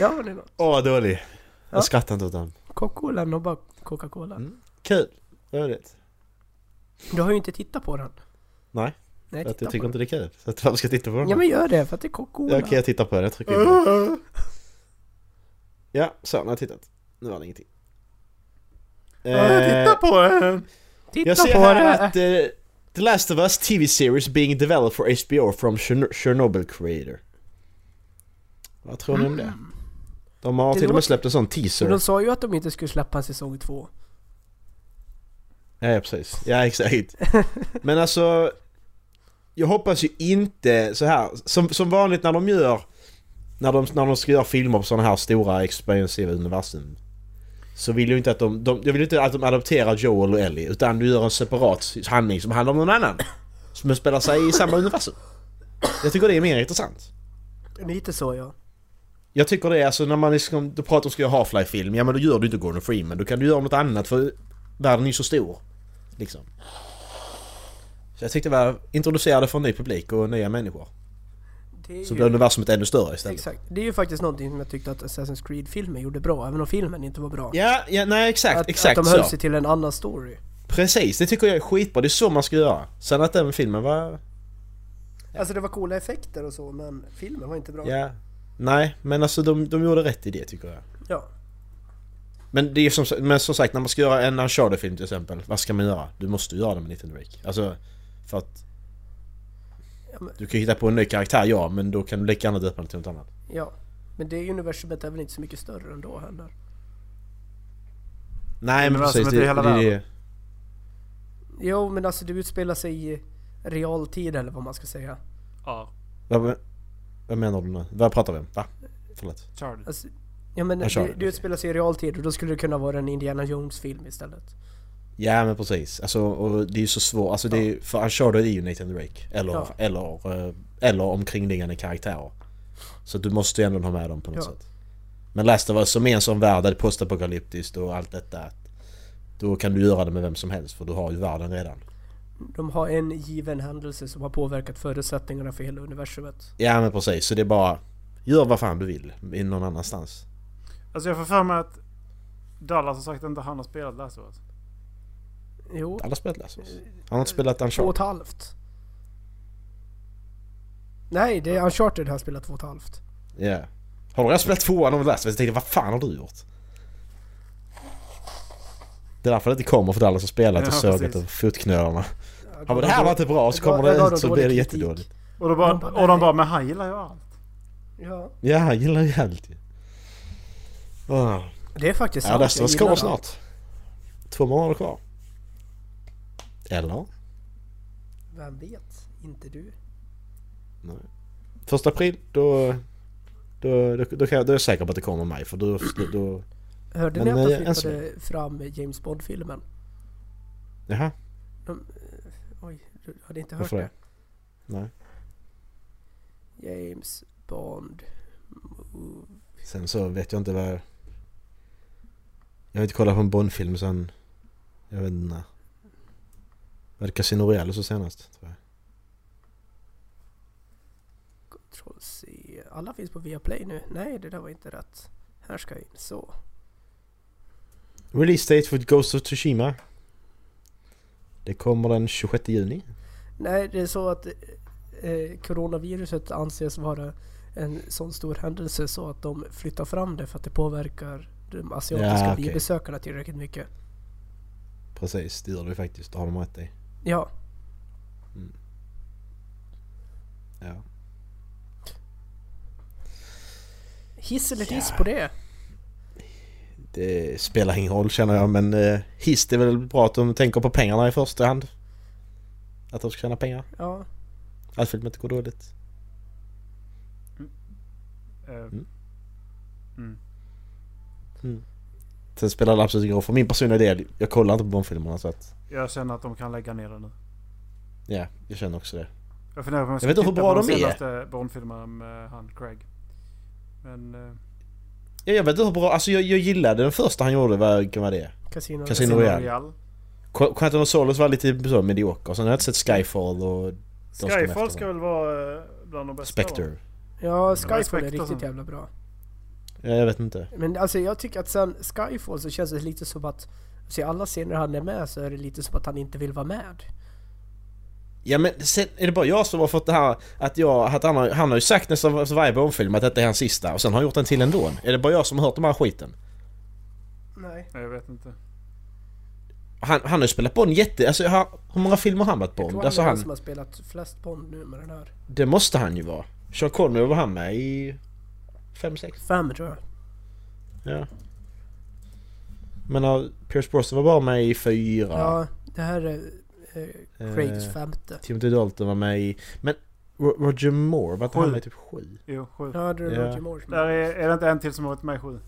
Speaker 6: Ja, det är något.
Speaker 2: Åh, vad dålig.
Speaker 6: Ja.
Speaker 2: Jag skrattar inte åt den.
Speaker 6: Kock-Ola nobbade Coca-Cola.
Speaker 2: Mm. Kul. Roligt.
Speaker 6: Du har ju inte tittat på den.
Speaker 2: Nej,
Speaker 6: Nej,
Speaker 2: för att
Speaker 6: titta
Speaker 2: jag
Speaker 6: på
Speaker 2: tycker
Speaker 6: den.
Speaker 2: inte det är kul. Så att varför ska jag titta på den?
Speaker 6: Ja men gör det, för att det är Kock-Ola.
Speaker 2: Ja, Okej, jag tittar på den. Jag trycker in den. Ja, så. Nu har jag tittat. Nu var det ingenting. Eh,
Speaker 1: Titta på den!
Speaker 6: Titta
Speaker 2: Jag ser
Speaker 6: på
Speaker 2: här
Speaker 6: det!
Speaker 2: att eh, The Last of Us TV series being developed for HBO from Chern- Chernobyl creator. Vad tror ni om det? De har
Speaker 6: Mm. Det
Speaker 2: till och
Speaker 6: låter-
Speaker 2: med släppt en sån
Speaker 6: Men
Speaker 2: teaser.
Speaker 6: de sa ju att de inte skulle släppa en säsong två.
Speaker 2: Ja, ja, precis. Ja, exakt. Men alltså... Jag hoppas ju inte så här. Som, som vanligt när de gör... När de, när de ska göra filmer på sådana här stora expansiva universum. Så vill jag inte att de, de... Jag vill inte att de adopterar Joel och Ellie. Utan du gör en separat handling som handlar om någon annan. Som spelar sig i samma universum. Jag tycker det är mer intressant.
Speaker 6: Lite så ja.
Speaker 2: Jag tycker det, alltså när man liksom, då pratar om ska göra Half-Life-film, ja men då gör du inte Gordon Freeman, då kan du göra något annat för världen är ju så stor. Liksom. Så jag tyckte det var, introducerade för en ny publik och nya människor.
Speaker 6: Det är
Speaker 2: Så
Speaker 6: ju-
Speaker 2: blev universumet ännu större istället.
Speaker 6: Exakt. Det är ju faktiskt någonting som jag tyckte att Assassin's Creed-filmen gjorde bra, även om filmen inte var bra.
Speaker 2: Ja, ja, nej exakt,
Speaker 6: att,
Speaker 2: exakt
Speaker 6: att de höll
Speaker 2: så.
Speaker 6: sig till en annan story.
Speaker 2: Precis, det tycker jag är skitbra, det är så man ska göra. Sen att den filmen var,
Speaker 6: Alltså det var coola effekter och så, men filmen var inte bra.
Speaker 2: ja. Nej, men alltså de, de gjorde rätt i det tycker jag.
Speaker 6: Ja.
Speaker 2: Men det är som, men som sagt, när man ska göra en Uncharted-film till exempel, vad ska man göra? Du måste göra den med Nathan Drake. Alltså, för att...
Speaker 6: Ja, men-
Speaker 2: Du kan ju hitta på en ny karaktär, ja, men då kan du lika gärna döpa den till något annat.
Speaker 6: Ja. Men det universumet är väl inte så mycket större ändå heller?
Speaker 2: Nej, men
Speaker 1: Universum
Speaker 2: precis.
Speaker 1: heter
Speaker 2: Det,
Speaker 1: hela
Speaker 2: det, det,
Speaker 1: världen.
Speaker 6: Jo, men alltså det utspelar sig i realtid eller vad man ska säga.
Speaker 1: Ja,
Speaker 2: vad, vad menar du nu? Vad pratar vi om? Va? Förlåt.
Speaker 1: Charlie.
Speaker 6: Alltså, ja men
Speaker 2: Jag kör
Speaker 6: det,
Speaker 2: den,
Speaker 6: det
Speaker 2: okej.
Speaker 6: utspelar sig i realtid och då skulle det kunna vara en Indiana Jones-film istället.
Speaker 2: Ja, men precis. Alltså, och det är ju så svårt. Alltså, det är, för Uncharted är ju Nathan Drake. Eller,
Speaker 6: Ja.
Speaker 2: eller, eh, eller omkringliggande karaktärer. Så du måste ju ändå ha med dem på något
Speaker 6: Ja.
Speaker 2: sätt. Men Last of Us, som är en sån värld där det är postapokalyptiskt och allt detta. Då kan du göra det med vem som helst för du har ju världen redan.
Speaker 6: De har en given händelse som har påverkat förutsättningarna för hela universumet.
Speaker 2: Ja men precis, så det är bara... Gör vad fan du vill, i någon annanstans.
Speaker 1: Alltså jag får för mig att Dallas har sagt att inte han har spelat Last of Us.
Speaker 6: Jo,
Speaker 2: Alla har spelat Last of Us. Han har inte spelat
Speaker 6: två och
Speaker 2: Uncharted.
Speaker 6: ett halvt. Nej, det är Uncharted har jag spelat två och ett halvt.
Speaker 2: Ja. Har du redan spelat tvåan av Last of Us? Jag tänkte, vad fan har du gjort? Det är därför det inte kommer, för alla som spelat och
Speaker 1: Ja,
Speaker 2: sågat
Speaker 1: precis.
Speaker 2: över fotknölarna.
Speaker 6: Jag
Speaker 2: Ja men det
Speaker 6: gav
Speaker 2: här var
Speaker 6: dem-
Speaker 2: inte bra, och så
Speaker 6: jag gav-
Speaker 2: kommer
Speaker 6: jag gav
Speaker 2: det
Speaker 6: dem
Speaker 2: ut så
Speaker 6: dålig
Speaker 2: blir det
Speaker 6: kritik.
Speaker 2: jättedåligt.
Speaker 1: Och, då bara,
Speaker 6: De bara,
Speaker 1: och de
Speaker 6: nej.
Speaker 1: bara, men han gillar ju allt.
Speaker 6: Ja,
Speaker 2: Ja, han gillar ju allt ju. Ah.
Speaker 6: det är faktiskt
Speaker 2: Ja, Last of
Speaker 6: jag
Speaker 2: Us
Speaker 6: gillar
Speaker 2: kommer
Speaker 6: det.
Speaker 2: snart. Två månader kvar. Eller?
Speaker 6: Vem vet? Inte du.
Speaker 2: Nej. Första april, då... Då, då, då, kan jag, då är jag säker på att det kommer mig, för då... då Men,
Speaker 6: Hörde ni att
Speaker 2: eh,
Speaker 6: de
Speaker 2: än så
Speaker 6: flyttade fram eh, James Bond-filmen?
Speaker 2: jaha,
Speaker 6: Oj, du hade inte hört
Speaker 2: varför det?
Speaker 6: det?
Speaker 2: Nej.
Speaker 6: James Bond.
Speaker 2: Sen så vet jag inte vad... Jag har inte kollat på en Bond-film sen... Jag vet inte. Var det Casino Royale så senast? Tror jag.
Speaker 6: ska vi se. Alla finns på Viaplay nu. Nej, det där var inte rätt. Här ska jag in. Så.
Speaker 2: Release date för Ghost of Tsushima. Det kommer den 26 juni.
Speaker 6: Nej, det är så att eh, coronaviruset anses vara en sån stor händelse så att de flyttar fram det för att det påverkar de asiatiska
Speaker 2: Ja, okej.
Speaker 6: biobesökarna tillräckligt mycket.
Speaker 2: Precis, det gör det faktiskt. Det har de rätt i.
Speaker 6: Ja,
Speaker 2: Ja.
Speaker 6: hiss eller diss på det.
Speaker 2: Det spelar ingen roll känner jag men eh, hiss det är väl bra att de tänker på pengarna i första hand. Att de ska tjäna pengar.
Speaker 6: Ja,
Speaker 2: Att filmen inte går dåligt.
Speaker 1: Eh,
Speaker 2: Sen spelar det absolut ingen roll för min personliga del. Jag kollar inte på Bondfilmerna så att...
Speaker 1: Jag känner att de kan lägga ner det nu.
Speaker 2: Ja, jag känner också det.
Speaker 1: Jag funderar på om jag ska
Speaker 2: vet inte hur
Speaker 1: titta
Speaker 2: bra
Speaker 1: på
Speaker 2: de är.
Speaker 1: senaste Bondfilmerna med han Craig. Men... eh,
Speaker 2: Ja, jag vet inte hur bra... Alltså jag, jag gillade den första han gjorde, vad vilken var det? Casino
Speaker 6: Casino.
Speaker 1: Casino
Speaker 2: Royale.
Speaker 1: Royale.
Speaker 2: Qu- Quantum of Solace var lite så medioker. Sen har jag inte sett Skyfall och ska med
Speaker 1: Skyfall
Speaker 2: efter
Speaker 1: ska
Speaker 2: den.
Speaker 1: väl vara eh, bland de bästa. va?
Speaker 2: Spectre.
Speaker 6: Ja, alltså.
Speaker 1: Respekt
Speaker 6: Skyfall är
Speaker 1: och
Speaker 6: riktigt
Speaker 1: sånt.
Speaker 6: jävla bra.
Speaker 2: Ja, jag vet inte.
Speaker 6: Men alltså jag tycker att sen Skyfall så känns det lite som att... Se alla scener han är med så är det lite som att han inte vill vara med.
Speaker 2: Ja men sen är det bara jag som har fått det här att jag, att han har, han har ju sagt nästan var- varje Bondfilm att detta är hans sista och sen har han gjort en till ändå. Är det bara jag som har hört de här skiten?
Speaker 6: Nej.
Speaker 1: Nej, Jag vet inte.
Speaker 2: Han, han har ju spelat Bond jätte... Alltså jag har, hur många filmer har han varit
Speaker 6: Bond,
Speaker 2: Bond? Alltså
Speaker 6: han som
Speaker 2: han,
Speaker 6: har spelat flest Bond nu med den här.
Speaker 2: det måste han ju vara. Sean Connery var han med i... fem sex
Speaker 6: Fem tror jag.
Speaker 2: Ja. Men uh, Pierce Brosnan var bara med i fyra.
Speaker 6: Ja, det här är eh, Craigs
Speaker 2: Eh.
Speaker 6: femte.
Speaker 2: Timothy Dalton var med i... Men Ro- Roger Moore, var inte han
Speaker 1: Sju.
Speaker 2: med i typ sju?
Speaker 1: Jo, sju.
Speaker 6: Ja, då är det
Speaker 2: Ja.
Speaker 6: Roger Moore som
Speaker 1: Där
Speaker 6: är.
Speaker 1: är, är det inte en till som har varit med i sju?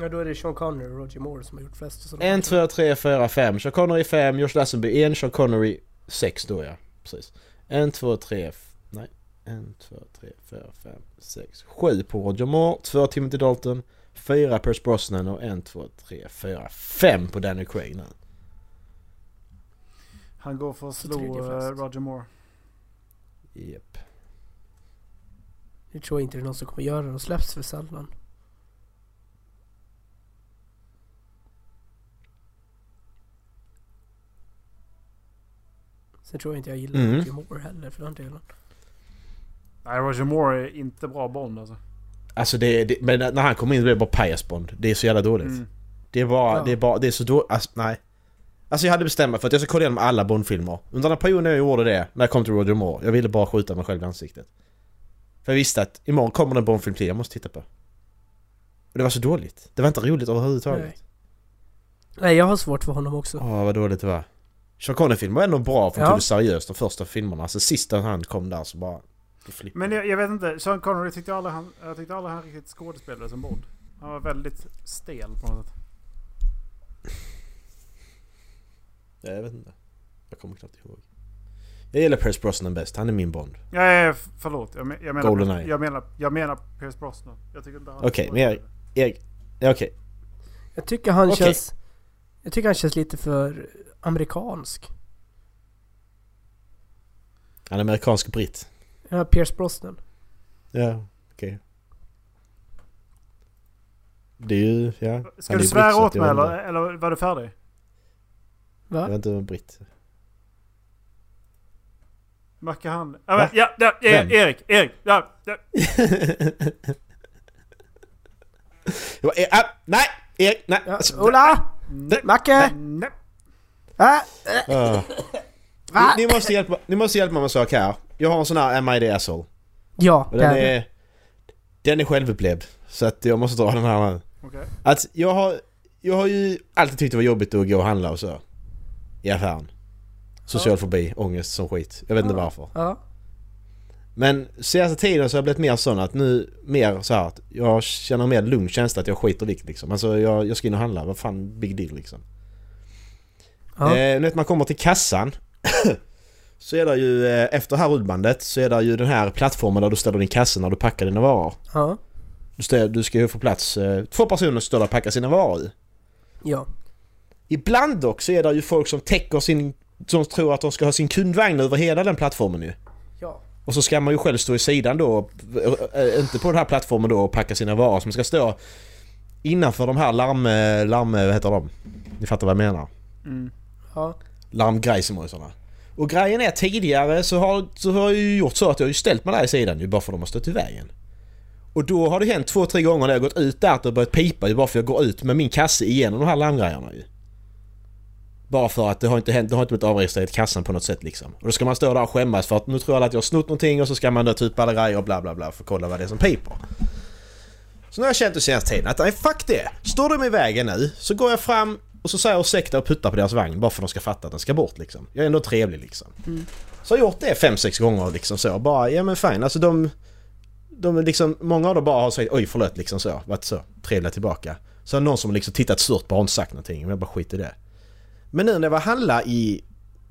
Speaker 6: Ja, då är det Sean Connery och Roger Moore som har gjort flest. sådana.
Speaker 2: En, två, tre, fyra, fem. Sean Connery fem, Josh Lassenby en, Sean Connery sex då ja. Precis. En, två, tre, f- nej. En, två, tre, fyra, fem, sex, sju på Roger Moore, två Timothy Dalton, fyra Pierce Brosnan och en, två, tre, fyra, fem på Daniel Craig nu.
Speaker 1: Han går för att
Speaker 6: Så
Speaker 1: slå
Speaker 6: tredje flest.
Speaker 1: eh, Roger Moore.
Speaker 2: Japp.
Speaker 6: Jag tror inte det är någon som kommer göra det. De släpps för sällan. Sen tror jag inte jag gillar
Speaker 2: Mm.
Speaker 6: Roger Moore heller för den delen.
Speaker 1: Nej, Roger Moore är inte bra Bond alltså.
Speaker 2: Alltså det, det men när han kommer in blir det bara pajas Bond. Det är så jävla dåligt.
Speaker 1: Mm.
Speaker 2: Det är bara,
Speaker 6: Ja.
Speaker 2: det är bara, det är så dåligt, alltså, nej. Alltså jag hade bestämt mig för att jag ska kolla igenom alla Bond-filmer. Under den här perioden jag gjorde det, när jag kom till Roger Moore, jag ville bara skjuta mig själv i ansiktet. För jag visste att imorgon kommer det en Bond-film till jag måste titta på. Och det var så dåligt. Det var inte roligt
Speaker 6: Nej.
Speaker 2: överhuvudtaget.
Speaker 6: Nej, jag har svårt för honom också.
Speaker 2: Åh, vad dåligt det var. Sean Connery-filmer var ändå bra för de
Speaker 6: Ja.
Speaker 2: tog det seriöst de första filmerna. Alltså sista han kom där så bara... det flippade.
Speaker 1: Men jag, jag vet inte. Sean Connery tyckte aldrig han, jag tyckte aldrig han riktigt skådespelade som Bond. Han var väldigt stel på något sätt.
Speaker 2: Ja, jag vet inte. Jag kommer knappt ihåg. Jag gillar Pierce Brosnan bäst, han är min Bond.
Speaker 1: Ja, ja, ja, förlåt. Jag, men, jag, menar,
Speaker 2: Goldeneye.
Speaker 1: jag, menar, jag menar Pierce Brosnan. Jag tycker inte han
Speaker 2: Okej, men jag- Erik... Ja, okej.
Speaker 6: Jag tycker han
Speaker 2: Okej.
Speaker 6: känns... Jag tycker han känns lite för amerikansk.
Speaker 2: Han är amerikansk-britt.
Speaker 6: Ja, Pierce Brosnan.
Speaker 2: Ja, okej. Det är ju, ja.
Speaker 1: Ska
Speaker 2: Han är
Speaker 1: du
Speaker 2: ju britt,
Speaker 1: svära
Speaker 2: så
Speaker 1: åt
Speaker 2: att jag
Speaker 1: mig
Speaker 2: vet inte.
Speaker 1: eller, eller var du färdig?
Speaker 6: Va?
Speaker 2: Jag vet inte om britt.
Speaker 1: Macke han... Ja, men,
Speaker 2: Va?
Speaker 1: ja, ja, ja,
Speaker 2: Vem?
Speaker 1: Erik, Erik! Ja, ja.
Speaker 2: Jag bara, eh, ah, nej! Erik, nej!
Speaker 6: Ja,
Speaker 2: Alltså,
Speaker 6: Ola!
Speaker 2: nej.
Speaker 6: Macke!
Speaker 1: Nej.
Speaker 6: Ah,
Speaker 2: Ah.
Speaker 6: va?
Speaker 2: Ni, ni, måste hjälpa, ni måste hjälpa mig med en sak här. Jag har en sån här Am I the asshole?
Speaker 6: Ja,
Speaker 2: Och
Speaker 6: det
Speaker 2: den
Speaker 6: är det.
Speaker 2: är... Den är självupplevd. Så att jag måste dra den här nu.
Speaker 1: Okej.
Speaker 2: Att jag har... Jag har ju alltid tyckt det var jobbigt att gå och handla och så. I affären. Social fobi, ångest som skit. Jag vet inte varför.
Speaker 6: Ja.
Speaker 2: Men senaste tiden så har jag blivit mer sån att nu, mer så här att jag känner mer lugn känsla att jag skiter i vikt liksom. Alltså jag, jag ska in och handla, vad fan big deal liksom.
Speaker 6: Ja.
Speaker 2: Eh, nu vet man kommer till kassan så är det ju, eh, efter det här rullbandet så är det ju den här plattformen där du ställer din kassa när du packar dina varor.
Speaker 6: Ja.
Speaker 2: Du, stä- du ska ju få plats, eh, två personer står där och packar sina varor i.
Speaker 6: Ja.
Speaker 2: Ibland dock så är det ju folk som täcker sin, som tror att de ska ha sin kundvagn över hela den plattformen ju.
Speaker 6: Ja.
Speaker 2: Och så ska man ju själv stå i sidan då, eh, inte på den här plattformen då och packa sina varor som ska stå innanför de här larm... eh, larm vad heter de? Ni fattar vad jag menar?
Speaker 6: Ja.
Speaker 2: larmgrejsimojsarna. Och grejen är tidigare så har, så har jag ju gjort så att jag har ju ställt mig där i sidan ju bara för att de har stått i vägen. Och då har det hänt två, tre gånger när jag gått ut där att det har börjat pipa ju bara för att jag går ut med min kasse igenom de här larmgrejerna ju. Bara för att det har inte hänt, det har inte blivit avregistrerat i kassan på något sätt liksom. Och då ska man stå där och skämmas för att nu tror alla att jag har snott någonting och så ska man då typ alla grejer och bla bla bla för att kolla vad det är som piper. Så nu har jag känt den senaste tiden att nej fuck det! Står de i vägen nu så går jag fram och så säger jag ursäkta och puttar på deras vagn bara för att de ska fatta att den ska bort liksom. Jag är ändå trevlig liksom. Så har jag gjort det fem, sex gånger liksom så. Bara ja men fine alltså de... De är liksom, många av dem bara har sagt oj förlåt liksom så. Varit så trevliga tillbaka. Så är det någon som har liksom tittat surt bara har inte sagt någonting. Men jag bara skit i det. Men nu när jag var och handla i...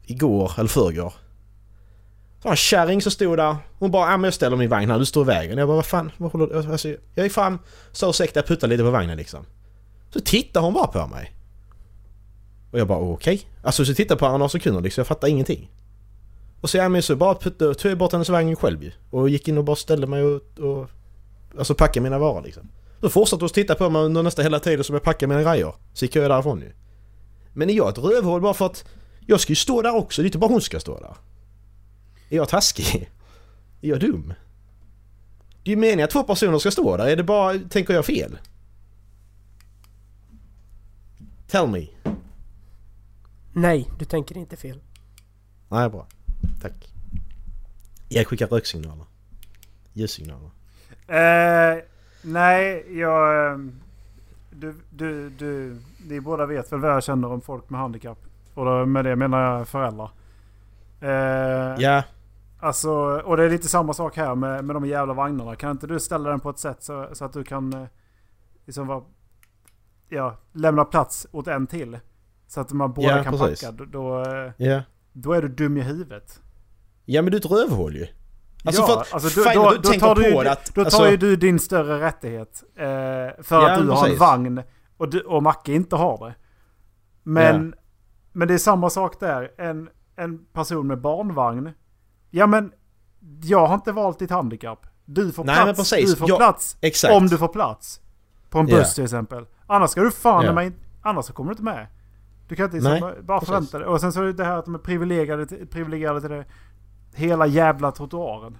Speaker 2: Igår eller förrgår. Så var en kärring som stod där. Hon bara, ja men jag ställer min vagn här, du står i vägen. Jag bara, vad fan, vad håller du? Alltså, jag gick fram, sa ursäkta, puttade lite på vagnen liksom. Så tittar hon bara på mig. Och jag bara, okej. Alltså så tittar jag på henne några sekunder liksom, jag fattar ingenting. Och så, ja men så bara puttade, tog jag bort hennes vagn själv ju. Och gick in och bara ställde mig och, och alltså packade mina varor liksom. Då fortsatte hon att titta på mig under nästan hela tiden som jag packade mina grejer. Så gick jag därifrån ju. Men är jag ett rövhål bara för att jag ska ju stå där också, det är inte bara hon som ska stå där. Är jag taskig? Är jag dum? Det är ju meningen att två personer ska stå där, är det bara, tänker jag fel? Tell me.
Speaker 6: Nej, du tänker inte fel.
Speaker 2: Nej, bra. Tack. Jag skickar röksignaler. Ljussignaler.
Speaker 1: Eh, nej, jag... eh, Du, du, du, ni båda vet väl vad jag känner om folk med handikapp. Och då, med det menar jag föräldrar. Eh,
Speaker 2: Ja,
Speaker 1: Alltså, och det är lite samma sak här med, med de jävla vagnarna. Kan inte du ställa den på ett sätt så, så att du kan eh, liksom vara, ja, lämna plats åt en till? Så att man båda
Speaker 2: Ja,
Speaker 1: kan
Speaker 2: precis.
Speaker 1: packa. Då, då, eh,
Speaker 2: ja.
Speaker 1: då är du dum i huvudet.
Speaker 2: Ja men du är ett rövhål ju. Alltså för att,
Speaker 1: alltså,
Speaker 2: alltså, fine, då, du tänker
Speaker 1: tar du,
Speaker 2: på
Speaker 1: ju-
Speaker 2: det att...
Speaker 1: Då tar
Speaker 2: alltså,
Speaker 1: ju du din större rättighet. Eh, för
Speaker 2: Ja,
Speaker 1: att du har en
Speaker 2: precis.
Speaker 1: vagn och, du, och Macke inte har det. Men, men det är samma sak där. En, en person med barnvagn. Ja men, jag har inte valt ditt handikapp. Du får
Speaker 2: Nej, men
Speaker 1: plats,
Speaker 2: precis.
Speaker 1: du får
Speaker 2: Jag-
Speaker 1: plats.
Speaker 2: exakt.
Speaker 1: Om du får plats. På en buss
Speaker 2: Ja.
Speaker 1: till exempel. Annars ska du fan
Speaker 2: Ja.
Speaker 1: yeah. med, annars så kommer du inte med. Du kan inte
Speaker 2: Nej,
Speaker 1: liksom bara
Speaker 2: precis.
Speaker 1: förvänta dig. Och sen så är det det här att de är privilegierade till, privilegierade till det. Hela jävla trottoaren.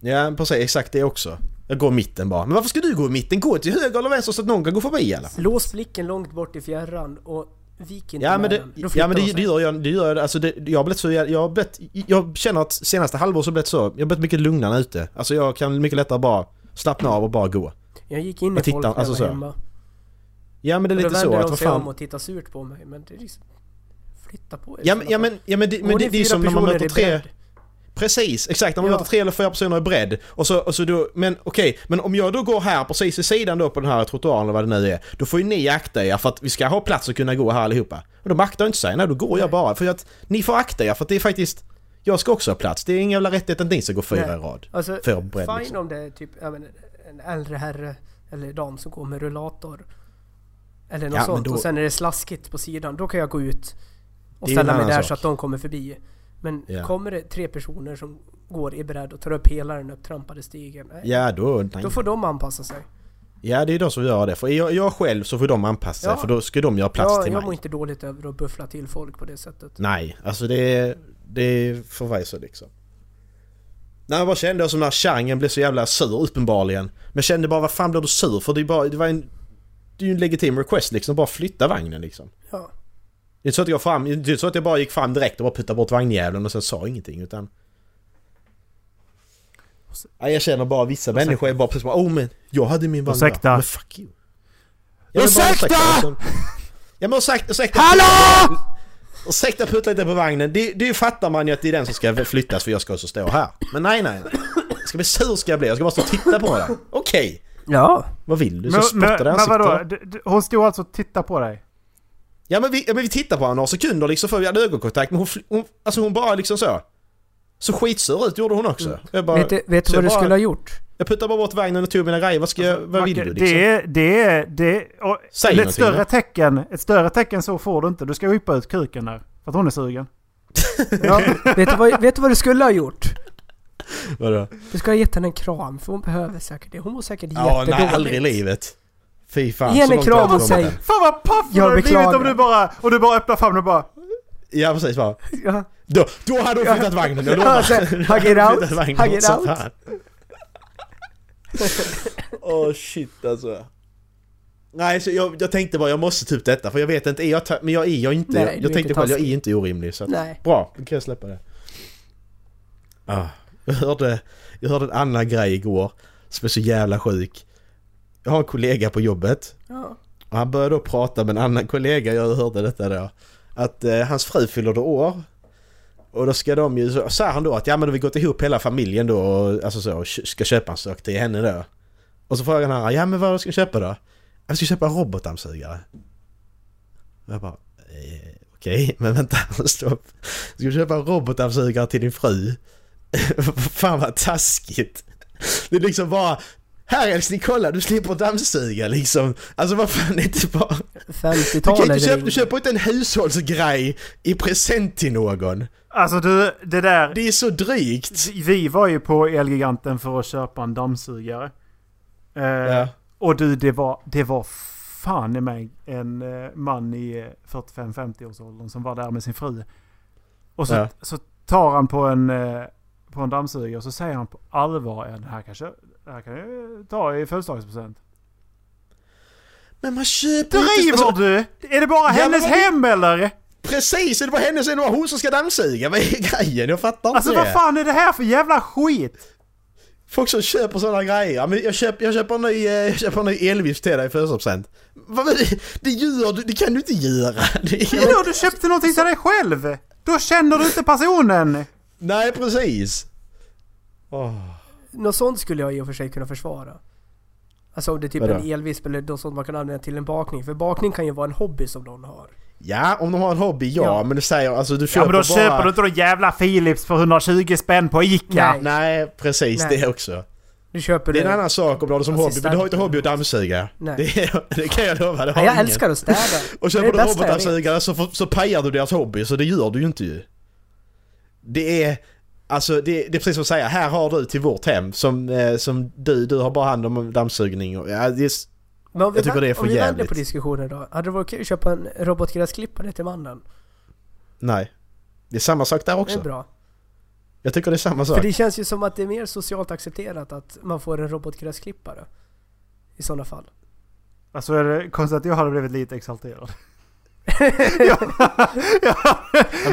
Speaker 2: Ja precis, exakt det också. Jag går i mitten bara. Men varför ska du gå i mitten? Gå till höger eller vänster så att någon kan gå förbi i alla fall.
Speaker 6: Lås blicken långt bort i fjärran och vik inte
Speaker 2: Ja
Speaker 6: med
Speaker 2: men, det,
Speaker 6: den. Då
Speaker 2: ja,
Speaker 6: flyttar
Speaker 2: men
Speaker 6: de
Speaker 2: det,
Speaker 6: sig.
Speaker 2: det gör jag. Det gör jag, alltså det, jag, har blivit så, jag, jag, har blivit, jag känner att senaste halvåret så har jag blivit så. Jag har blivit mycket lugnare ute. Alltså jag kan mycket lättare bara slappna av och bara gå.
Speaker 6: Jag gick in i
Speaker 2: Jag tittar,
Speaker 6: folk när jag
Speaker 2: alltså
Speaker 6: var
Speaker 2: så.
Speaker 6: hemma.
Speaker 2: Ja men det är
Speaker 6: Och då
Speaker 2: lite så
Speaker 6: vänder
Speaker 2: att
Speaker 6: de
Speaker 2: vad
Speaker 6: sig om
Speaker 2: fan.
Speaker 6: och tittar surt på mig. Men det är liksom... Flytta på er.
Speaker 2: Ja men, ja, men, ja, men, det, men
Speaker 6: Går
Speaker 2: det, det är ju
Speaker 6: fyra
Speaker 2: som när man
Speaker 6: personer
Speaker 2: möter
Speaker 6: i
Speaker 2: tre...
Speaker 6: bredd?
Speaker 2: Precis, exakt. När man
Speaker 6: Ja.
Speaker 2: möter tre eller fyra personer i bredd. Och så, och så då, men okej, men om jag då går här precis i sidan då på den här trottoaren eller vad det nu är. Då får ju ni akta er för att vi ska ha plats att kunna gå här allihopa. Och de aktar inte sig, nej då går jag bara. För att ni får akta er för att det är faktiskt... Jag ska också ha plats. Det är ingen jävla rättighet att ni ska gå fyra
Speaker 6: Nej.
Speaker 2: i rad.
Speaker 6: Alltså,
Speaker 2: För bredd
Speaker 6: fine
Speaker 2: liksom.
Speaker 6: om det är typ ja, men, en äldre herre eller dam som går med rullator. Eller något
Speaker 2: Ja, men
Speaker 6: sånt.
Speaker 2: då-
Speaker 6: Och sen är det slaskigt på sidan. Då kan jag gå ut och
Speaker 2: Det är ju
Speaker 6: ställa
Speaker 2: en
Speaker 6: mig
Speaker 2: annan
Speaker 6: där
Speaker 2: sak.
Speaker 6: så att de kommer förbi. Men
Speaker 2: Ja.
Speaker 6: kommer det tre personer som går i bredd och tar upp hela den upptrampade stigen. Nej.
Speaker 2: Ja då, nej.
Speaker 6: Då får de anpassa sig.
Speaker 2: Ja det är de som gör det. För är jag, jag själv så får de anpassa sig
Speaker 6: Ja.
Speaker 2: för då ska de göra plats
Speaker 6: Jag,
Speaker 2: till
Speaker 6: jag
Speaker 2: mig.
Speaker 6: mår inte dåligt över att buffla till folk på det sättet.
Speaker 2: Nej, alltså det är, det är förvisso liksom. Nej, jag bara kände som när Changen blev så jävla sur uppenbarligen. Men jag kände bara vad fan blev du sur för? Det, är bara, det var en... Det är ju en legitim request liksom, bara flytta vagnen liksom.
Speaker 6: Ja.
Speaker 2: Det är inte så att jag, fram, det är inte så att jag bara gick fram direkt och bara puttade bort vagnjäveln och sen sa ingenting utan... Ja, jag känner bara vissa människor är bara precis bara oh men jag hade min vagn där."
Speaker 1: Ursäkta.
Speaker 2: Men fuck you. Ja, men bara,
Speaker 1: Ursäkta!
Speaker 2: liksom. Ja men ursäkta, ursäkta! Hallå! Ursäkta putta lite på vagnen. Det, det fattar man ju att det är den som ska flyttas för jag ska också stå här. Men nej nej nej. Jag ska bli sur ska jag bli. Jag ska bara stå och titta på den. Okej.
Speaker 6: Ja.
Speaker 2: Vad vill du? Så
Speaker 1: Men, men,
Speaker 2: spottar du
Speaker 1: men
Speaker 2: ansiktet?
Speaker 1: vadå? Du- du- Hon stod alltså och tittade på dig?
Speaker 2: Ja men vi, ja, men vi tittar på henne några sekunder liksom för vi hade ögonkontakt men hon, fl- hon, alltså hon bara liksom så. Så skitsur ut gjorde hon
Speaker 1: Mm.
Speaker 2: också. Jag bara,
Speaker 6: Vet du, vet du
Speaker 2: så jag
Speaker 6: vad du
Speaker 2: bara-
Speaker 6: skulle ha gjort?
Speaker 2: Jag puttade bara bort vagnen och tog mina grejer. Vad, ska jag, vad vill
Speaker 1: Macke,
Speaker 2: du liksom?
Speaker 1: Det är... Det är, det är och
Speaker 2: Säg
Speaker 1: ett,
Speaker 2: någonting,
Speaker 1: större
Speaker 2: då.
Speaker 1: tecken, ett större tecken så får du inte. Du ska yppa ut kuken där. För att hon är sugen.
Speaker 6: Ja, vet, du vad, vet du vad du skulle ha gjort?
Speaker 2: Vadå?
Speaker 6: Du ska ha gett henne en kram, för hon behöver säkert det. Hon mår säkert
Speaker 2: Ja, nej
Speaker 6: jättedåligt.
Speaker 2: aldrig i livet. Fy fan,
Speaker 6: Ge henne
Speaker 2: långt
Speaker 6: kram
Speaker 2: har jag
Speaker 6: och
Speaker 2: kommit
Speaker 6: säg-
Speaker 2: än.
Speaker 1: Fan vad paff du
Speaker 6: Jag
Speaker 1: hade blivit
Speaker 6: beklagar.
Speaker 1: om du bara, och du bara öppnar famnen och bara...
Speaker 2: Ja precis, va?
Speaker 6: Ja.
Speaker 2: Då, då hade hon flyttat vagnen, jag
Speaker 6: Ja,
Speaker 2: lovar.
Speaker 6: alltså,
Speaker 2: Då
Speaker 6: hug
Speaker 2: hade
Speaker 6: it
Speaker 2: hon
Speaker 6: out,
Speaker 2: flyttat vagnen
Speaker 6: hug it
Speaker 2: som
Speaker 6: out.
Speaker 2: fan. Åh shit alltså. Nej, så jag, jag tänkte bara jag måste typ detta för jag vet inte, är jag ta- men jag är jag inte,
Speaker 6: Nej,
Speaker 2: jag,
Speaker 6: du
Speaker 2: jag
Speaker 6: är
Speaker 2: tänkte
Speaker 6: inte
Speaker 2: själv, jag är
Speaker 6: taskig.
Speaker 2: inte orimlig så att,
Speaker 6: Nej.
Speaker 2: Bra, då kan jag släppa det. Ah, jag, hörde, jag hörde en annan grej igår som är så jävla sjuk. Jag har en kollega på jobbet
Speaker 6: Ja.
Speaker 2: och han började då prata med en annan kollega, jag hörde detta då. Att eh, hans fru fyller då år. Och då ska de ju, så sa han då att ja men vi gått ihop hela familjen då och alltså så, och kö- ska köpa en sak till henne då. Och så frågar han ja men vad ska vi köpa då? Jag ska köpa en robotdammsugare. Och jag bara, eh, okej men vänta, stopp. Ska du köpa en robotdammsugare till din fru? Fan vad taskigt. Det är liksom bara, här älskling kolla du slipper dammsuga liksom. Alltså vad fan är det bara... Du,
Speaker 6: 50-talet
Speaker 2: kan ju inte köpa,
Speaker 6: är-
Speaker 2: du köper inte en hushållsgrej i present till någon.
Speaker 1: Alltså du, det där.
Speaker 2: Det är så drygt.
Speaker 1: Vi var ju på Elgiganten för att köpa en dammsugare. Eh,
Speaker 2: Ja.
Speaker 1: Och du, det var, det var fan i mig en eh, man i eh, 45-50 årsåldern som var där med sin fru. Och så,
Speaker 2: Ja.
Speaker 1: så tar han på en, eh, på en dammsugare och så säger han på allvar att det här kan, kö- det här kan jag ta i födelsedagspresent.
Speaker 2: Men man köper ju inte...
Speaker 1: Driver
Speaker 2: Alltså,
Speaker 1: du? Är det bara
Speaker 2: men
Speaker 1: hennes
Speaker 2: vad-
Speaker 1: hem eller?
Speaker 2: precis! Det var hennes, det var hon som ska dammsuga. Vad är grejen? Jag fattar inte
Speaker 1: Alltså
Speaker 2: det.
Speaker 1: vad fan är det här för jävla skit?
Speaker 2: Folk som köper sådana grejer. Ja, men Jag, köp, jag, köper en ny, eh, jag köper en ny elvift till dig i födelsedagspresent. Vad- men Det, det gör du, det kan du inte göra. Det är,
Speaker 1: Vadå, du köpte någonting till dig själv? Då känner du inte personen!
Speaker 2: nej, precis.
Speaker 6: Något sånt skulle jag i och för sig kunna försvara. Alltså om det är typ
Speaker 2: Vadå?
Speaker 6: en elvisp eller något sånt man kan använda till en bakning. För bakning kan ju vara en hobby som någon har.
Speaker 2: Ja, om de har en hobby, ja.
Speaker 6: Ja.
Speaker 2: Men du säger, alltså du köper
Speaker 1: Ja men då
Speaker 2: bara...
Speaker 1: köper du inte någon jävla Philips för 120 spänn på Ica!
Speaker 6: Nej.
Speaker 2: Nej, precis.
Speaker 6: Nej.
Speaker 2: Det också.
Speaker 6: Du köper
Speaker 2: Det är en annan sak om du har det som hobby, men du har inte hobby att dammsuga.
Speaker 6: Nej.
Speaker 2: Det, det kan jag lova, det har
Speaker 6: Nej, jag
Speaker 2: ingen.
Speaker 6: älskar att städa.
Speaker 2: Och
Speaker 6: Det är
Speaker 2: köper du
Speaker 6: det bästa jag vet.
Speaker 2: robotdammsugare så, får- så pajar du deras hobby, så det gör du ju inte ju. Det är... Alltså det, det är precis som att säga, här har du till vårt hem som, eh, som du, du har bara hand om dammsugning och... Ja, det är, s-
Speaker 6: Men om vi
Speaker 2: Jag tycker
Speaker 6: vänd-
Speaker 2: det är för
Speaker 6: Om vi vänder
Speaker 2: jävligt.
Speaker 6: på diskussionen då. Hade det varit kul att köpa en robotgräsklippare till mannen?
Speaker 2: nej. Det är samma sak där
Speaker 6: Det är
Speaker 2: också.
Speaker 6: bra.
Speaker 2: Jag tycker det är samma sak.
Speaker 6: För det känns ju som att det är mer socialt accepterat att man får en robotgräsklippare. I sådana fall.
Speaker 1: Alltså är det konstigt att jag hade blivit lite exalterad. ja, ja,
Speaker 2: Ja, men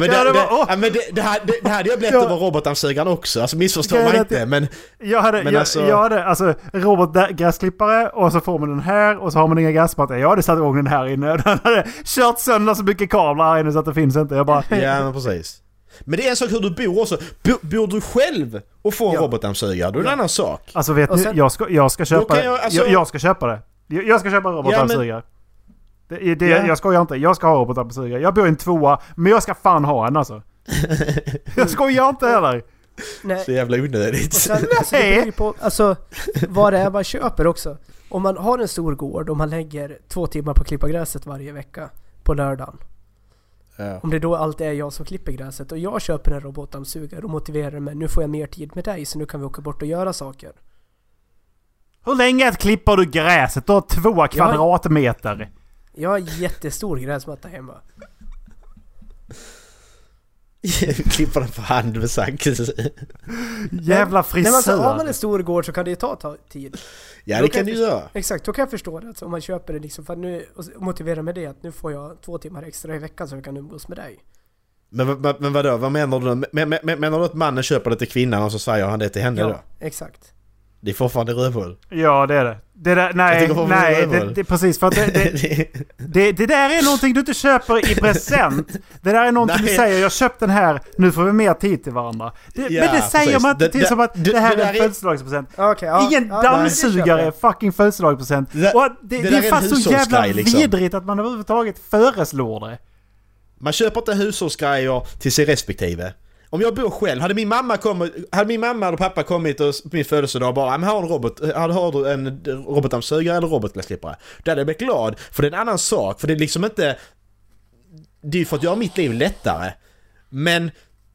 Speaker 1: Ja,
Speaker 2: det,
Speaker 1: det
Speaker 2: det,
Speaker 1: var- åh!
Speaker 2: ja, men det, det, här, det, det här hade jag blivit
Speaker 1: Ja.
Speaker 2: över robotdammsugaren också, alltså missförstå
Speaker 1: Grejen
Speaker 2: mig
Speaker 1: är att
Speaker 2: inte men...
Speaker 1: jag hade,
Speaker 2: Men
Speaker 1: jag,
Speaker 2: alltså-
Speaker 1: jag hade alltså robotgräsklippare och så får man den här och så har man inga gräsmattor. Jag hade satt igång den här inne. Den hade kört sönder så mycket kablar här inne så att det finns inte. Jag bara...
Speaker 2: Ja men precis. Men det är en sak hur du bor också. Bo, bor du själv och får en
Speaker 6: Ja.
Speaker 2: robotdammsugare, då är det en annan sak.
Speaker 1: Alltså vet
Speaker 6: Och
Speaker 1: ni,
Speaker 6: sen-
Speaker 1: jag ska, jag ska köpa
Speaker 2: kan
Speaker 1: det.
Speaker 2: jag-
Speaker 1: Jag,
Speaker 2: alltså-
Speaker 1: jag, ska köpa det. Jag, jag ska köpa en robotdammsugare. Det, det,
Speaker 2: Ja.
Speaker 1: Jag skojar inte. Jag ska ha robotdammsugare. Jag bor i en tvåa, men jag ska fan ha en alltså. jag skojar inte heller.
Speaker 6: Nej.
Speaker 2: Så jävla onödigt.
Speaker 6: Och sen, alltså, det beror ju på alltså, vad det är man köper också. Om man har en stor gård och man lägger två timmar på att klippa gräset varje vecka på lördagen.
Speaker 2: Ja.
Speaker 6: Om det då alltid är jag som klipper gräset och jag köper en robotdammsugare och motiverar det med nu får jag mer tid med dig så nu kan vi åka bort och göra saker.
Speaker 1: Hur länge klipper du gräset? Du har två kvadratmeter.
Speaker 6: Jag har en jättestor gräsmatta hemma.
Speaker 2: Klipper den för hand med sax.
Speaker 1: Jävla
Speaker 6: Nej, men alltså, har man
Speaker 1: frisör.
Speaker 6: en stor gård så kan det ju ta ta tid.
Speaker 2: Ja
Speaker 6: Då
Speaker 2: det
Speaker 6: kan
Speaker 2: kan du
Speaker 6: jag
Speaker 2: göra.
Speaker 6: Exakt, då kan jag förstå det. Alltså, om man köper det liksom för att nu, och så motiverar med det att nu får jag två timmar extra i veckan så jag kan umgås med dig.
Speaker 2: Men, vad- vad- men vadå, vad menar du? då? Men, men, men- menar du att mannen köper det till kvinnan och så säger han det till henne då?
Speaker 6: Ja, exakt.
Speaker 2: Det är fortfarande rövhål.
Speaker 1: Ja, det är det. det där,
Speaker 2: Jag
Speaker 1: nej,
Speaker 2: tycker varför
Speaker 1: nej.
Speaker 2: behöver
Speaker 1: Det,
Speaker 2: det?
Speaker 1: det, precis. För att det, det, det, det där är någonting du inte köper i present. Det där är någonting du
Speaker 2: Nej.
Speaker 1: säger. Jag köpte den här. Nu får vi mer tid till varandra. Det,
Speaker 2: Ja,
Speaker 1: men det säger
Speaker 2: precis.
Speaker 1: man inte
Speaker 2: Det-
Speaker 1: till
Speaker 2: det-
Speaker 1: som att
Speaker 2: det-
Speaker 1: det här
Speaker 2: det
Speaker 1: är
Speaker 2: där
Speaker 1: en
Speaker 2: är-
Speaker 1: födelsedagspresent.
Speaker 6: Ja, okej, ja,
Speaker 1: Ingen
Speaker 6: ja,
Speaker 1: dammsugare är
Speaker 6: det
Speaker 1: fucking födelsedagspresent.
Speaker 2: Det där-
Speaker 1: Och att det,
Speaker 2: det
Speaker 1: det,
Speaker 2: där
Speaker 1: är
Speaker 2: är en
Speaker 1: fan så jävla
Speaker 2: hushållsgrej, liksom.
Speaker 1: vidrigt att man överhuvudtaget föreslår det.
Speaker 2: Man köper inte hushållsgrejer till sin respektive. Om jag bor själv, hade min mamma, kommit, hade min mamma och pappa kommit och, på min födelsedag och bara "Ah, men här har du en robot, här har du en robotdammsugare eller robotgräsklippare?” Då hade jag blivit glad, för det är en annan sak, för det är liksom inte... Det är ju för att göra mitt liv lättare. Men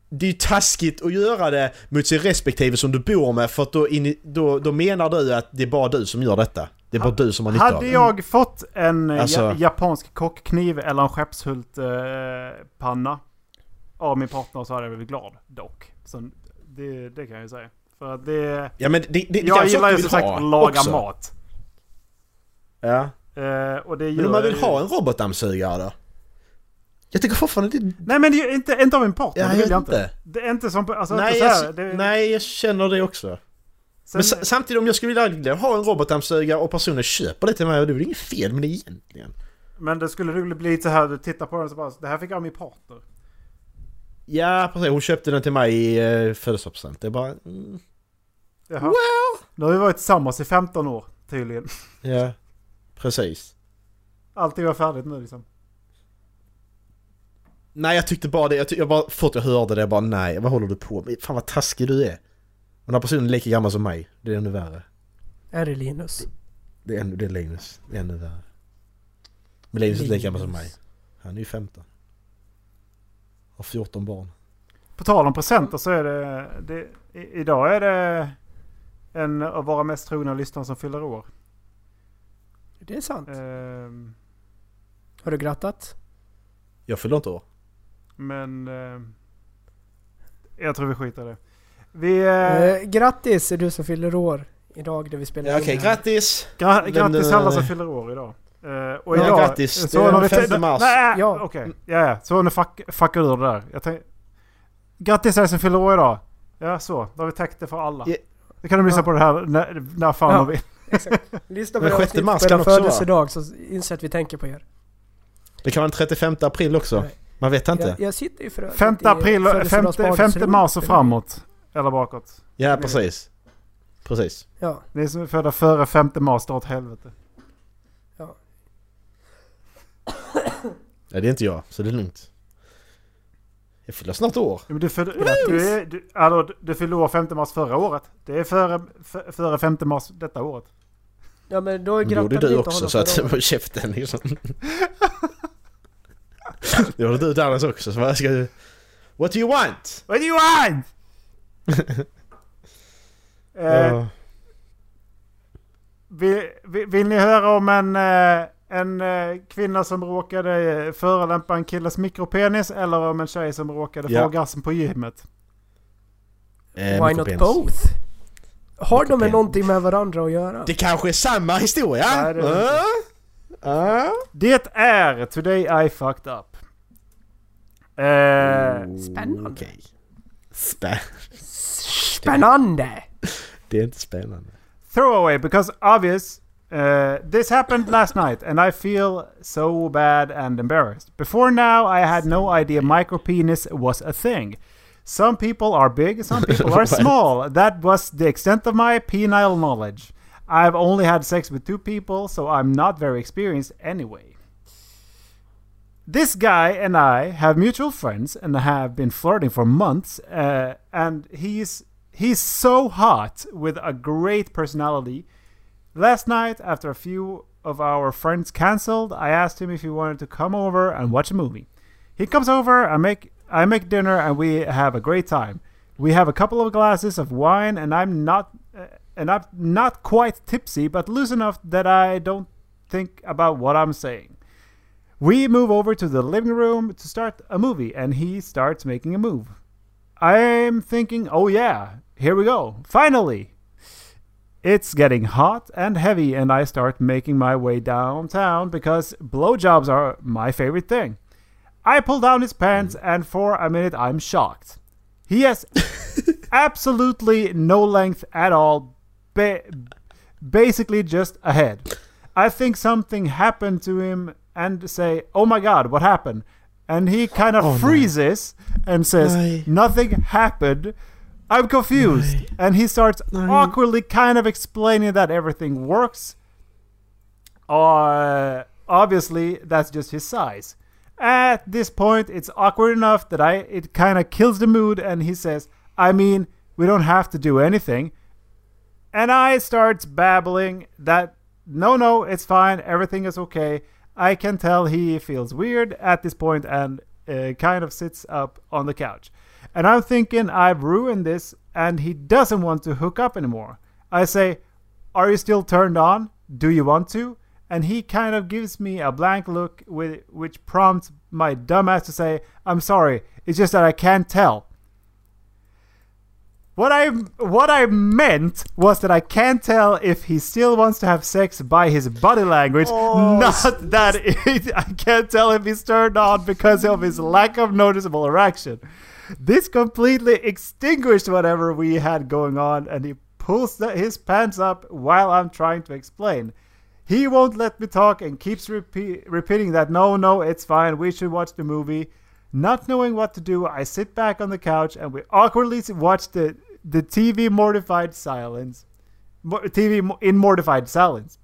Speaker 2: det är ju taskigt att göra det mot sin respektive som du bor med för att då, in, då, då menar du att det är bara du som gör detta. Det är bara du som har nytta av
Speaker 1: Hade
Speaker 2: det.
Speaker 1: jag fått en eh,
Speaker 2: Alltså-
Speaker 1: ja, japansk kockkniv eller en skeppshultpanna eh, panna av min partner så hade jag blivit glad dock. Så det, det kan jag ju säga. För att det...
Speaker 2: Ja men det, det, det är
Speaker 1: Jag
Speaker 2: kanske
Speaker 1: gillar ju
Speaker 2: du
Speaker 1: som
Speaker 2: vill
Speaker 1: sagt
Speaker 2: ha
Speaker 1: att laga
Speaker 2: också.
Speaker 1: mat.
Speaker 2: Ja.
Speaker 1: Eh, och det
Speaker 2: Men
Speaker 1: gör
Speaker 2: om man
Speaker 1: jag
Speaker 2: vill
Speaker 1: ju.
Speaker 2: ha en robotdammsugare då? Jag tycker fortfarande det...
Speaker 1: Nej men det är ju inte, inte av min partner,
Speaker 2: Ja,
Speaker 1: det
Speaker 2: jag
Speaker 1: vill jag
Speaker 2: vet
Speaker 1: inte.
Speaker 2: inte.
Speaker 1: Det är inte som... Alltså,
Speaker 2: Nej
Speaker 1: inte så här,
Speaker 2: jag,
Speaker 1: det,
Speaker 2: nej, jag känner det också.
Speaker 1: sen-
Speaker 2: Men sa- samtidigt om jag skulle vilja ha en robotdammsugare och personen köper det till mig, det är väl inget fel med det egentligen?
Speaker 1: Men det skulle roligt bli så här, du tittar på den och så bara, det här fick jag av min partner.
Speaker 2: Ja precis, hon köpte den till mig i eh, födelsedagspresent. Det är bara... Mm,
Speaker 1: Jaha. Nu har vi varit tillsammans i 15 år tydligen.
Speaker 2: ja, precis.
Speaker 1: Allting var färdigt nu liksom.
Speaker 2: Nej jag tyckte bara det, jag, tyck, jag bara, fort jag hörde det, jag bara nej, vad håller du på med? Fan vad taskig du är. Och den här personen är lika gammal som mig, det är ännu värre.
Speaker 6: Är det Linus?
Speaker 2: Det är, ännu, det är Linus, det är ännu värre. Men Linus är inte lika gammal som mig.
Speaker 6: Linus.
Speaker 2: Han är ju 15. Har 14 barn.
Speaker 1: På tal om presenter så är det, det i- idag är det en av våra mest trogna lyssnare som fyller år.
Speaker 6: Det är sant.
Speaker 1: Ehm,
Speaker 6: Har du grattat?
Speaker 2: Jag fyller inte år.
Speaker 1: men ehm, jag tror vi skiter i det. Vi, eh,
Speaker 6: Eh, grattis är du som fyller år idag när vi spelar
Speaker 2: Ja,
Speaker 6: in
Speaker 2: Okej,
Speaker 6: det här.
Speaker 2: grattis!
Speaker 1: gra- grattis
Speaker 2: men,
Speaker 1: alla som
Speaker 2: eh,
Speaker 1: fyller år idag. Eh, och
Speaker 2: Ja,
Speaker 1: idag,
Speaker 2: grattis. Det är
Speaker 1: har
Speaker 2: den
Speaker 1: vi-
Speaker 2: 5 mars.
Speaker 1: Nej,
Speaker 6: Ja.
Speaker 1: okej. Ja, ja. Så nu fuck, fuckar du ur det där. Jag tänk, grattis alla som fyller år idag. Ja, så. Då har vi täckt det för alla.
Speaker 2: Ja.
Speaker 1: Då kan de lyssna
Speaker 6: Ja.
Speaker 1: på det här när, när fan
Speaker 6: Ja.
Speaker 1: de vill.
Speaker 6: Lyssna på
Speaker 2: Men
Speaker 6: det
Speaker 2: sjätte
Speaker 6: här avsnittet
Speaker 2: mars
Speaker 6: på
Speaker 2: kan
Speaker 6: er
Speaker 2: också vara.
Speaker 6: födelsedag så inser jag att vi tänker på er.
Speaker 2: Det kan vara den 35 april också.
Speaker 6: Nej.
Speaker 2: Man vet inte.
Speaker 6: Jag, jag sitter ju för övrigt
Speaker 1: Femte
Speaker 6: i
Speaker 1: april, femte,
Speaker 6: födelsedagsbarnets
Speaker 1: femte
Speaker 6: rum.
Speaker 1: mars och framåt. Eller bakåt.
Speaker 2: Ja, precis. Precis.
Speaker 6: Ja,
Speaker 1: Ni som är födda före femte mars, dra åt helvete.
Speaker 2: Nej, det är inte jag, så det är lugnt. Jag fyller snart år.
Speaker 1: Ja, Men du, födde,
Speaker 6: Grattis!
Speaker 1: du, är, du, alltså, du fyllde år femte mars förra året. Det är före, f- före femte mars detta året.
Speaker 6: ja men då
Speaker 2: Men Det
Speaker 6: grattade
Speaker 2: gjorde
Speaker 6: vi
Speaker 2: du
Speaker 6: inte
Speaker 2: också
Speaker 6: honom
Speaker 2: så att
Speaker 6: förra året.
Speaker 2: håll käften liksom. Det gjorde du Dallas också så vad ska du... What do you want?
Speaker 1: What do you want? eh,
Speaker 2: Ja.
Speaker 1: vill, vill, vill ni höra om en, eh, en eh, kvinna som råkade eh, förolämpa en killes mikropenis eller om en tjej som råkade
Speaker 2: Ja.
Speaker 1: få orgasm på gymmet?
Speaker 2: Eh,
Speaker 6: Why not
Speaker 2: mikropenis.
Speaker 6: both? Har de med
Speaker 2: Mikropenis.
Speaker 6: någonting med varandra att göra?
Speaker 2: Det kanske är samma historia?
Speaker 1: Nej, det är det
Speaker 2: Ja. Ja.
Speaker 1: Det är Today I fucked up. Eh,
Speaker 6: Spännande.
Speaker 2: Mm, Okej. Spä...
Speaker 6: Spännande!
Speaker 2: Det är inte spännande.
Speaker 1: throwaway because obvious. Uh, this happened last night and I feel so bad and embarrassed. Before now, I had no idea micropenis was a thing. Some people are big, some people are
Speaker 2: What?
Speaker 1: small. That was the extent of my penile knowledge. I've only had sex with two people, so I'm not very experienced anyway. This guy and I have mutual friends and have been flirting for months, uh, and he's he's so hot with a great personality. Last night, after a few of our friends canceled, I asked him if he wanted to come over and watch a movie. He comes over, I make I make dinner, and we have a great time. We have a couple of glasses of wine, and I'm not uh, and I'm not quite tipsy, but loose enough that I don't think about what I'm saying. We move over to the living room to start a movie, and he starts making a move. I'm thinking, oh yeah, here we go, finally. It's getting hot and heavy, and I start making my way downtown because blowjobs are my favorite thing. I pull down his pants, and for a minute, I'm shocked. He has absolutely no length at all, ba- basically just a head. I think something happened to him and say, Oh my god, what happened? And he kind of freezes and says,
Speaker 2: Nej.
Speaker 1: Nothing happened. I'm confused. And he starts awkwardly kind of explaining that everything works. Uh, obviously, that's just his size. At this point, it's awkward enough that I it kind of kills the mood, and he says, "I mean, we don't have to do anything." And I starts babbling that, "No, no, it's fine. Everything is okay." I can tell he feels weird at this point and uh, kind of sits up on the couch.
Speaker 7: And I'm thinking I've ruined this and he doesn't want to hook up anymore. I say, Are you still turned on? Do you want to? And he kind of gives me a blank look, with, which prompts my dumbass to say, I'm sorry, it's just that I can't tell. What I what I meant was that I can't tell if he still wants to have sex by his body language, not that it, I can't tell if he's turned on because of his lack of noticeable erection. This completely extinguished whatever we had going on, and he pulls the, his pants up while I'm trying to explain. He won't let me talk and keeps repeat, repeating that no, no, it's fine, we should watch the movie. Not knowing what to do, I sit back on the couch and we awkwardly watch the, the TV mortified silence. Mo- TV mo- in mortified silence.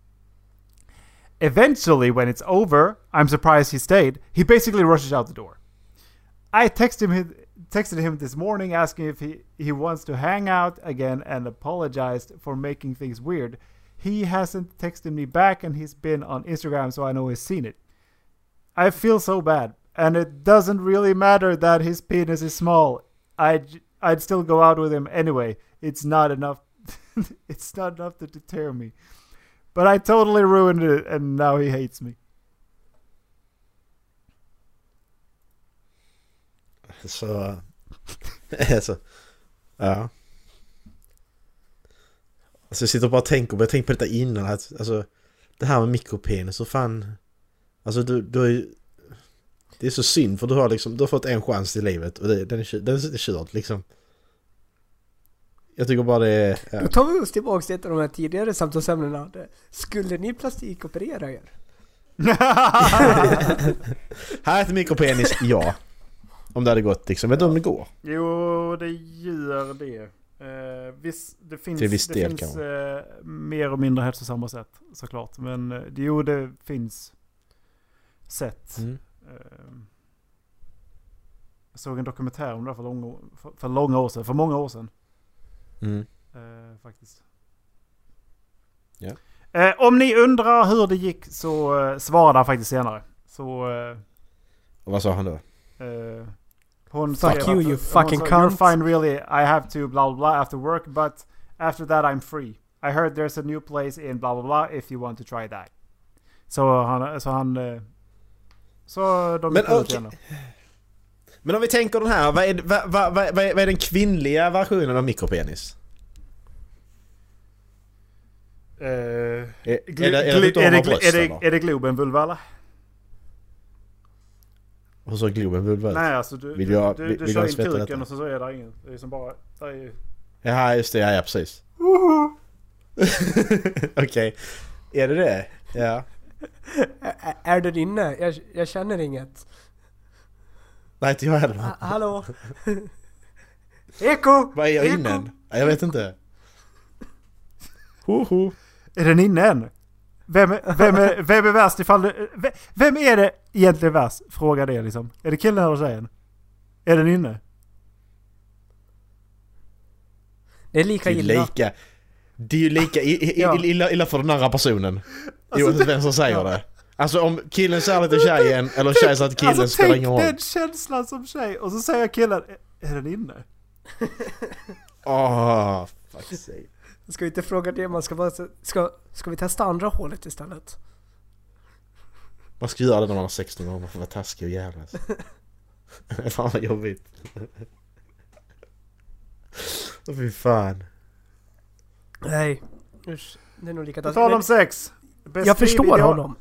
Speaker 7: Eventually, when it's over, I'm surprised he stayed. He basically rushes out the door. I texted him texted him this morning asking if he, he wants to hang out again and apologized for making things weird. He hasn't texted me back and he's been on Instagram, so I know he's seen it. I feel so bad, and it doesn't really matter that his penis is small. I'd I'd still go out with him anyway. It's not enough. it's not enough to deter me. But I totally ruined it, and now he hates me.
Speaker 2: Så... alltså... Ja. Alltså jag sitter och bara tänker, men jag tänkte på detta innan att, alltså... Det här med mikropenis, så fan... Alltså du, du har ju... Det är så synd för du har liksom, du har fått en chans i livet och det, den, är, kö- den är körd liksom. Jag tycker bara det är... Ja.
Speaker 6: Då tar vi oss tillbaks till ett av de här tidigare samtalsämnena. Det- Skulle ni plastikoperera er?
Speaker 2: Här är ett mikropenis, ja. Om det hade gått liksom, vet du om det går?
Speaker 1: Jo, det gör det. Eh, visst, det finns,
Speaker 2: Till viss
Speaker 1: det
Speaker 2: del
Speaker 1: finns
Speaker 2: kan
Speaker 1: eh, mer och mindre hälsosamma sätt såklart. Men eh, det- jo, det finns sätt.
Speaker 2: Mm.
Speaker 1: Eh, jag såg en dokumentär om det här för långa, för, för långa år sedan, för många år sedan.
Speaker 2: Mm.
Speaker 1: Eh, faktiskt.
Speaker 2: Ja.
Speaker 1: Eh, om ni undrar hur det gick så eh, svarade han faktiskt senare. Så... Eh,
Speaker 2: Och vad sa han då?
Speaker 1: Eh, hon
Speaker 6: Fuck
Speaker 1: skrev
Speaker 6: you,
Speaker 1: att-
Speaker 6: you
Speaker 1: hon
Speaker 6: fucking
Speaker 1: sa,
Speaker 6: cunt."
Speaker 1: You're fine really, I have to blah blah blah after work but after that I'm free. I heard there's a new place in blah blah blah if you want to try that. Så han, så han... eh, Så de
Speaker 2: Men
Speaker 1: gick ut
Speaker 2: okej.
Speaker 1: igen då.
Speaker 2: Men om vi tänker den här, vad är, vad, vad, vad, vad är, vad är den kvinnliga versionen av mikropenis?
Speaker 1: Eh,
Speaker 2: Är,
Speaker 1: gl-
Speaker 2: är det, är det,
Speaker 1: gl-
Speaker 2: att de
Speaker 1: Är det
Speaker 2: har
Speaker 1: gl-
Speaker 2: bröst
Speaker 1: är det-
Speaker 2: eller?
Speaker 1: är det Globen vulva eller?
Speaker 2: Och så Globen vulva?
Speaker 1: Nej alltså du,
Speaker 2: Vill
Speaker 1: du-
Speaker 2: jag-
Speaker 1: du,
Speaker 2: vill-
Speaker 1: du
Speaker 2: vill
Speaker 1: kör
Speaker 2: jag
Speaker 1: in
Speaker 2: sveta
Speaker 1: kuken
Speaker 2: detta?
Speaker 1: och så, så är det inget. Det är som bara... Det är ju...
Speaker 2: Ja, just det. Ja, ja precis. Okej. Är det det? Ja.
Speaker 6: Ä- ä- är den inne? Jag, jag känner inget.
Speaker 2: Nej, inte jag heller.
Speaker 6: Ha- hallå? Eko!
Speaker 2: Vad är jag innan? Ja, Jag vet inte. Hoho.
Speaker 1: Är den inne än? Vem, är- vem, är, vem är värst ifall du, ve- Vem är det egentligen värst? Fråga det liksom. Är det killen eller tjejen? Är den inne?
Speaker 6: Det är
Speaker 2: Det
Speaker 6: lika
Speaker 2: är ju
Speaker 6: illa.
Speaker 2: lika... Det är ju lika i- i-
Speaker 6: Ja.
Speaker 2: i- illa, illa för den andra personen. Oavsett vem som säger det. Alltså om killen säger det till tjejen eller tjejen säger till killen
Speaker 1: alltså
Speaker 2: spelar
Speaker 1: tänk
Speaker 2: ingen roll.
Speaker 1: den känslan som tjej och så säger killen "Är- Är den inne?
Speaker 2: Åh, Ah, fuck sake.
Speaker 6: Ska vi inte fråga det? Man ska bara... se- Ska, ska vi testa andra hålet istället?
Speaker 2: Man ska göra det när man har 16 år, man får vara taskig och jävlas. fan vad jobbigt. Åh fy fan.
Speaker 6: Nej. Usch. Alltså, Det är nog
Speaker 1: På
Speaker 6: likadant.
Speaker 1: tal om
Speaker 6: Men
Speaker 1: sex.
Speaker 6: Jag
Speaker 1: beskriv
Speaker 6: förstår
Speaker 1: ideal-
Speaker 6: honom.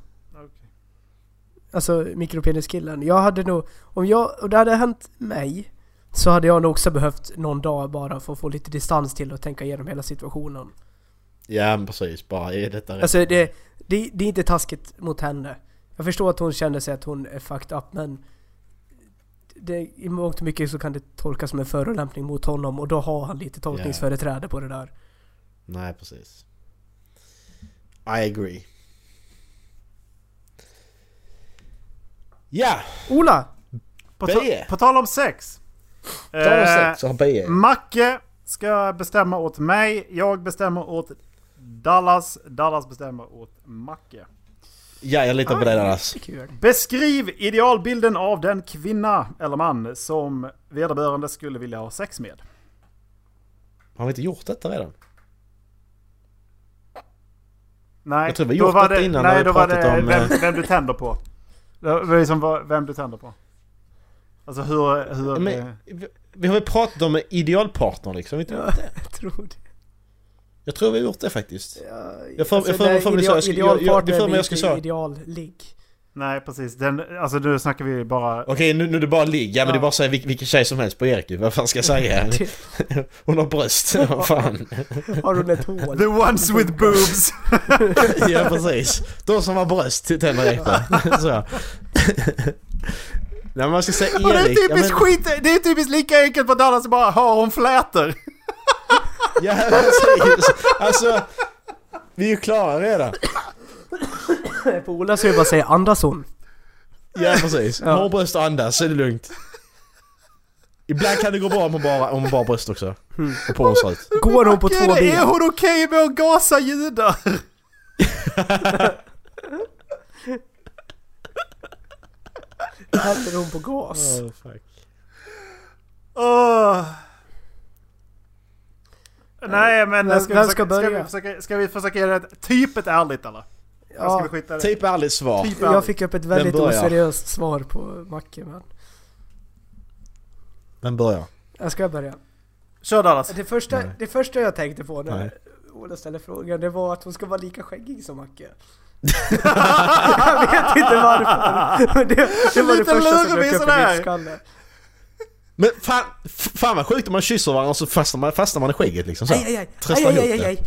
Speaker 6: Alltså mikropeniskillen. Jag hade nog... Om jag... Om det hade hänt mig så hade jag nog också behövt någon dag bara för att få lite distans till och tänka igenom hela situationen.
Speaker 2: Ja men precis, bara är detta rätt?
Speaker 6: Alltså det, det, det är inte taskigt mot henne. Jag förstår att hon kände sig att hon är fucked up men det, i mångt och mycket så kan det tolkas som en förolämpning mot honom och då har han lite tolkningsföreträde på det där.
Speaker 2: Nej precis. I agree. Ja!
Speaker 6: Ola!
Speaker 1: På, ta,
Speaker 2: Beje.
Speaker 1: på tal om sex.
Speaker 2: Ta oss
Speaker 1: Eh,
Speaker 2: sex så har BE.
Speaker 1: Macke ska bestämma åt mig. Jag bestämmer åt Dallas. Dallas bestämmer åt Macke.
Speaker 2: Ja, jag litar på dig Dallas.
Speaker 6: Kul.
Speaker 1: Beskriv idealbilden av den kvinna eller man som vederbörande skulle vilja ha sex med.
Speaker 2: Har vi inte gjort detta redan?
Speaker 1: Nej,
Speaker 2: Jag tror vi har
Speaker 1: då
Speaker 2: gjort
Speaker 1: var
Speaker 2: detta innan när
Speaker 1: nej,
Speaker 2: vi
Speaker 1: då var
Speaker 2: pratat
Speaker 1: det
Speaker 2: om,
Speaker 1: vem,
Speaker 2: eh,
Speaker 1: vem du tänder på. Det var liksom vad- vem du tänder på. Alltså hur... hur eh,
Speaker 2: Men, vi- vi har väl pratat om en idealpartner liksom? Vet du?
Speaker 6: Jag tror det.
Speaker 2: Jag tror vi har gjort det faktiskt. Jag får-
Speaker 6: Alltså,
Speaker 2: jag får- jag får mig
Speaker 6: det
Speaker 2: så-
Speaker 6: är
Speaker 2: jag ska- jag- jag-
Speaker 6: idealpartner
Speaker 2: det får mig
Speaker 6: blir
Speaker 2: jag ska
Speaker 6: till
Speaker 2: säga.
Speaker 6: Idealligg.
Speaker 1: nej, precis. Den, alltså nu snackar vi bara...
Speaker 2: Okej, nu, nu är det bara ligg. Ja, men det är
Speaker 6: Ja. typ.
Speaker 2: bara att säga vil- vilken tjej som helst på Erik ju. Vad fan ska jag säga? Hon har bröst. Vad fan.
Speaker 6: Har hon ett hål?
Speaker 1: The ones with boobs!
Speaker 2: Ja, precis. De som har bröst tänder Erik på. Så. Nej, men man ska säga Erik.
Speaker 1: Och det är
Speaker 2: ja,
Speaker 1: typiskt
Speaker 2: men,
Speaker 1: skit! Det är typiskt lika enkelt på Dallas som bara har hon flätor.
Speaker 2: Ja, precis. Alltså, vi är ju klara redan.
Speaker 6: På Ola så är det bara att säga andas hon.
Speaker 2: Ja, precis. Har bröst och andas så är det lugnt. Ibland kan det gå bra om man bara, om man bara har bröst också.
Speaker 6: Hmm.
Speaker 2: Och porrstrut.
Speaker 6: Går hon på två
Speaker 1: Är, är
Speaker 6: ben?
Speaker 1: hon okej med att gasa judar?
Speaker 6: Äter hon på gas? Eh,
Speaker 1: Åh. Nej men
Speaker 6: Vem-
Speaker 1: ska, vi
Speaker 6: vem
Speaker 1: försöka,
Speaker 6: ska börja?
Speaker 1: Ska vi, försöka, ska vi försöka göra det typet ärligt eller? Eller Ska
Speaker 6: Ja,
Speaker 1: vi skita i det?
Speaker 2: Typ ärligt svar.
Speaker 1: Typ
Speaker 6: jag
Speaker 1: ärligt.
Speaker 6: fick upp ett väldigt
Speaker 2: börjar?
Speaker 6: oseriöst svar på macken. Men.
Speaker 2: Vem börjar?
Speaker 6: Jag ska börja.
Speaker 1: Kör Dallas.
Speaker 6: Det första, det första jag tänkte på när
Speaker 2: Nej.
Speaker 6: Ola ställde frågan, det var att hon ska vara lika skäggig som Macke. jag vet inte varför. Men Det, det var det
Speaker 1: Lite
Speaker 6: första som
Speaker 1: lurvig
Speaker 6: dök upp i
Speaker 1: sådär.
Speaker 6: min skalle.
Speaker 2: Men fan, f- fan vad sjukt om man kysser varandra och så fastnar man, fastnar man i skägget liksom så. här.
Speaker 6: Aj, aj, aj.
Speaker 2: Trösta
Speaker 6: Aj, aj,
Speaker 2: ihop
Speaker 6: aj, aj,
Speaker 2: det.
Speaker 6: aj.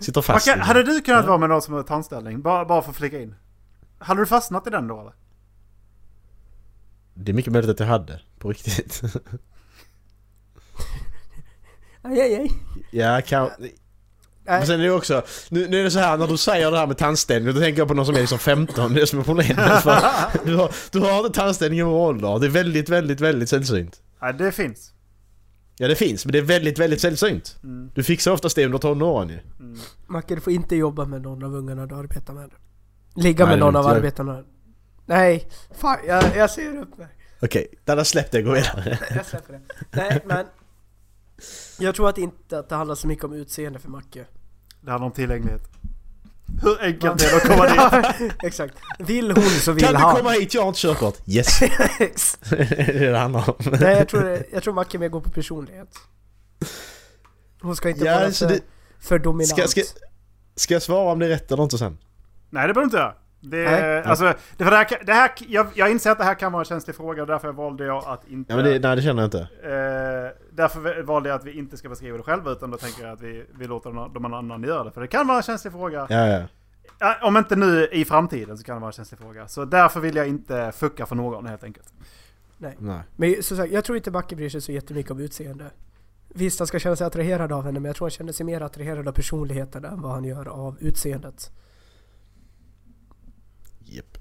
Speaker 2: Sitter
Speaker 1: Man
Speaker 2: fast.
Speaker 1: kan,
Speaker 2: liksom.
Speaker 1: hade du kunnat vara med någon som har tandställning? Bara, bara för att flika in. Hade du fastnat i den då eller?
Speaker 2: Det är mycket möjligt att jag hade. På riktigt.
Speaker 6: Aj, aj, aj.
Speaker 2: ja, kan... Men sen är det också, nu, nu är det så här när du säger det här med tandställning, då tänker jag på någon som är liksom 15, det är det som är problemet. För du, har, du har inte tandställning i vår ålder, det är väldigt, väldigt, väldigt sällsynt.
Speaker 1: Nej det finns.
Speaker 2: Ja det finns, men det är väldigt, väldigt sällsynt. Du fixar oftast det under tonåren ju.
Speaker 6: Macke, du får inte jobba med någon av ungarna du arbetar med. Ligga
Speaker 2: Nej,
Speaker 6: med
Speaker 2: det
Speaker 6: någon
Speaker 2: vill
Speaker 6: av
Speaker 2: inte jag.
Speaker 6: arbetarna. Nej, fan jag, jag ser upp mig.
Speaker 2: Okej, där har släppt det, gå vidare.
Speaker 6: Jag släpper det. Nej, men. Jag tror att inte att det handlar så mycket om utseende för Macke.
Speaker 1: Det handlar om tillgänglighet. Hur enkelt är det att komma dit?
Speaker 6: Exakt. Vill hon så vill
Speaker 2: Kan du
Speaker 6: han.
Speaker 2: komma hit, jag har inte körkort. Yes! det är det det handlar om.
Speaker 6: Nej, jag tror, det- jag tror Macke mer går på personlighet. Hon ska inte
Speaker 2: Ja,
Speaker 6: vara
Speaker 2: så
Speaker 6: för,
Speaker 2: det-
Speaker 6: för dominant.
Speaker 2: Ska, ska, ska jag svara om det är rätt eller inte sen?
Speaker 1: Nej det behöver du inte göra. Det,
Speaker 6: Nej.
Speaker 1: alltså, det, för det här, kan- det här, jag, jag inser att det här kan vara en känslig fråga och därför valde jag att inte...
Speaker 2: Ja, men det, nej, det känner jag inte.
Speaker 1: Eh, därför valde jag att vi inte ska beskriva det själva utan då tänker jag att vi, vi låter de, de annan göra det. För det kan vara en känslig fråga.
Speaker 2: Ja, ja.
Speaker 1: Ja, Om inte nu i framtiden så kan det vara en känslig fråga. Så därför vill jag inte fucka för någon helt enkelt.
Speaker 2: Nej.
Speaker 6: Men som sagt, jag tror inte Macke bryr sig så jättemycket om utseende. Visst, han ska känna sig attraherad av henne, men jag tror han känner sig mer attraherad av personligheten än vad han gör av utseendet.
Speaker 2: Japp.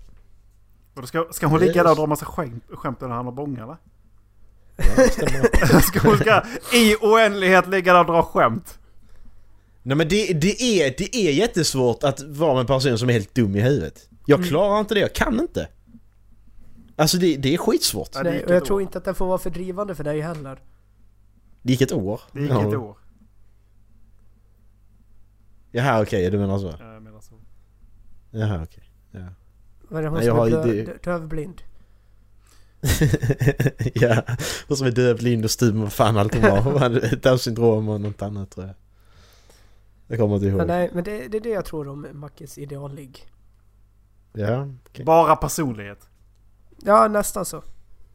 Speaker 1: Och då ska, ska hon ligga där och dra massa skämt, skämt när han har bånga eller? ska hon ska i oändlighet ligga där och dra skämt?
Speaker 2: Nej men det, det, är, det är jättesvårt att vara med en person som är helt dum i huvudet. Jag klarar inte det, jag kan inte. Alltså det, det är skitsvårt.
Speaker 1: Ja, det
Speaker 6: Nej,
Speaker 1: gick
Speaker 6: och jag
Speaker 1: ett
Speaker 6: tror
Speaker 1: år.
Speaker 6: inte att den får vara för drivande för dig heller.
Speaker 2: Det gick ett år.
Speaker 1: Det gick
Speaker 2: Ja.
Speaker 1: ett år.
Speaker 2: Jaha okej, du menar så?
Speaker 1: Eh, medan så-
Speaker 2: Jaha okej.
Speaker 6: Vad är det hon
Speaker 2: Nej, jag
Speaker 6: som är
Speaker 2: har Mm. ju-
Speaker 6: dö-
Speaker 2: det-
Speaker 6: dö- dövblind?
Speaker 2: ja, och som är döv, blind och stum och fan allt hon var. Hon hade Downs syndrom och något annat tror jag. Jag kommer inte
Speaker 6: Men
Speaker 2: ihåg.
Speaker 6: nej, men det, det är det jag tror om Mackes idealligg.
Speaker 2: Ja, okej.
Speaker 1: Bara personlighet.
Speaker 6: Ja, nästan så.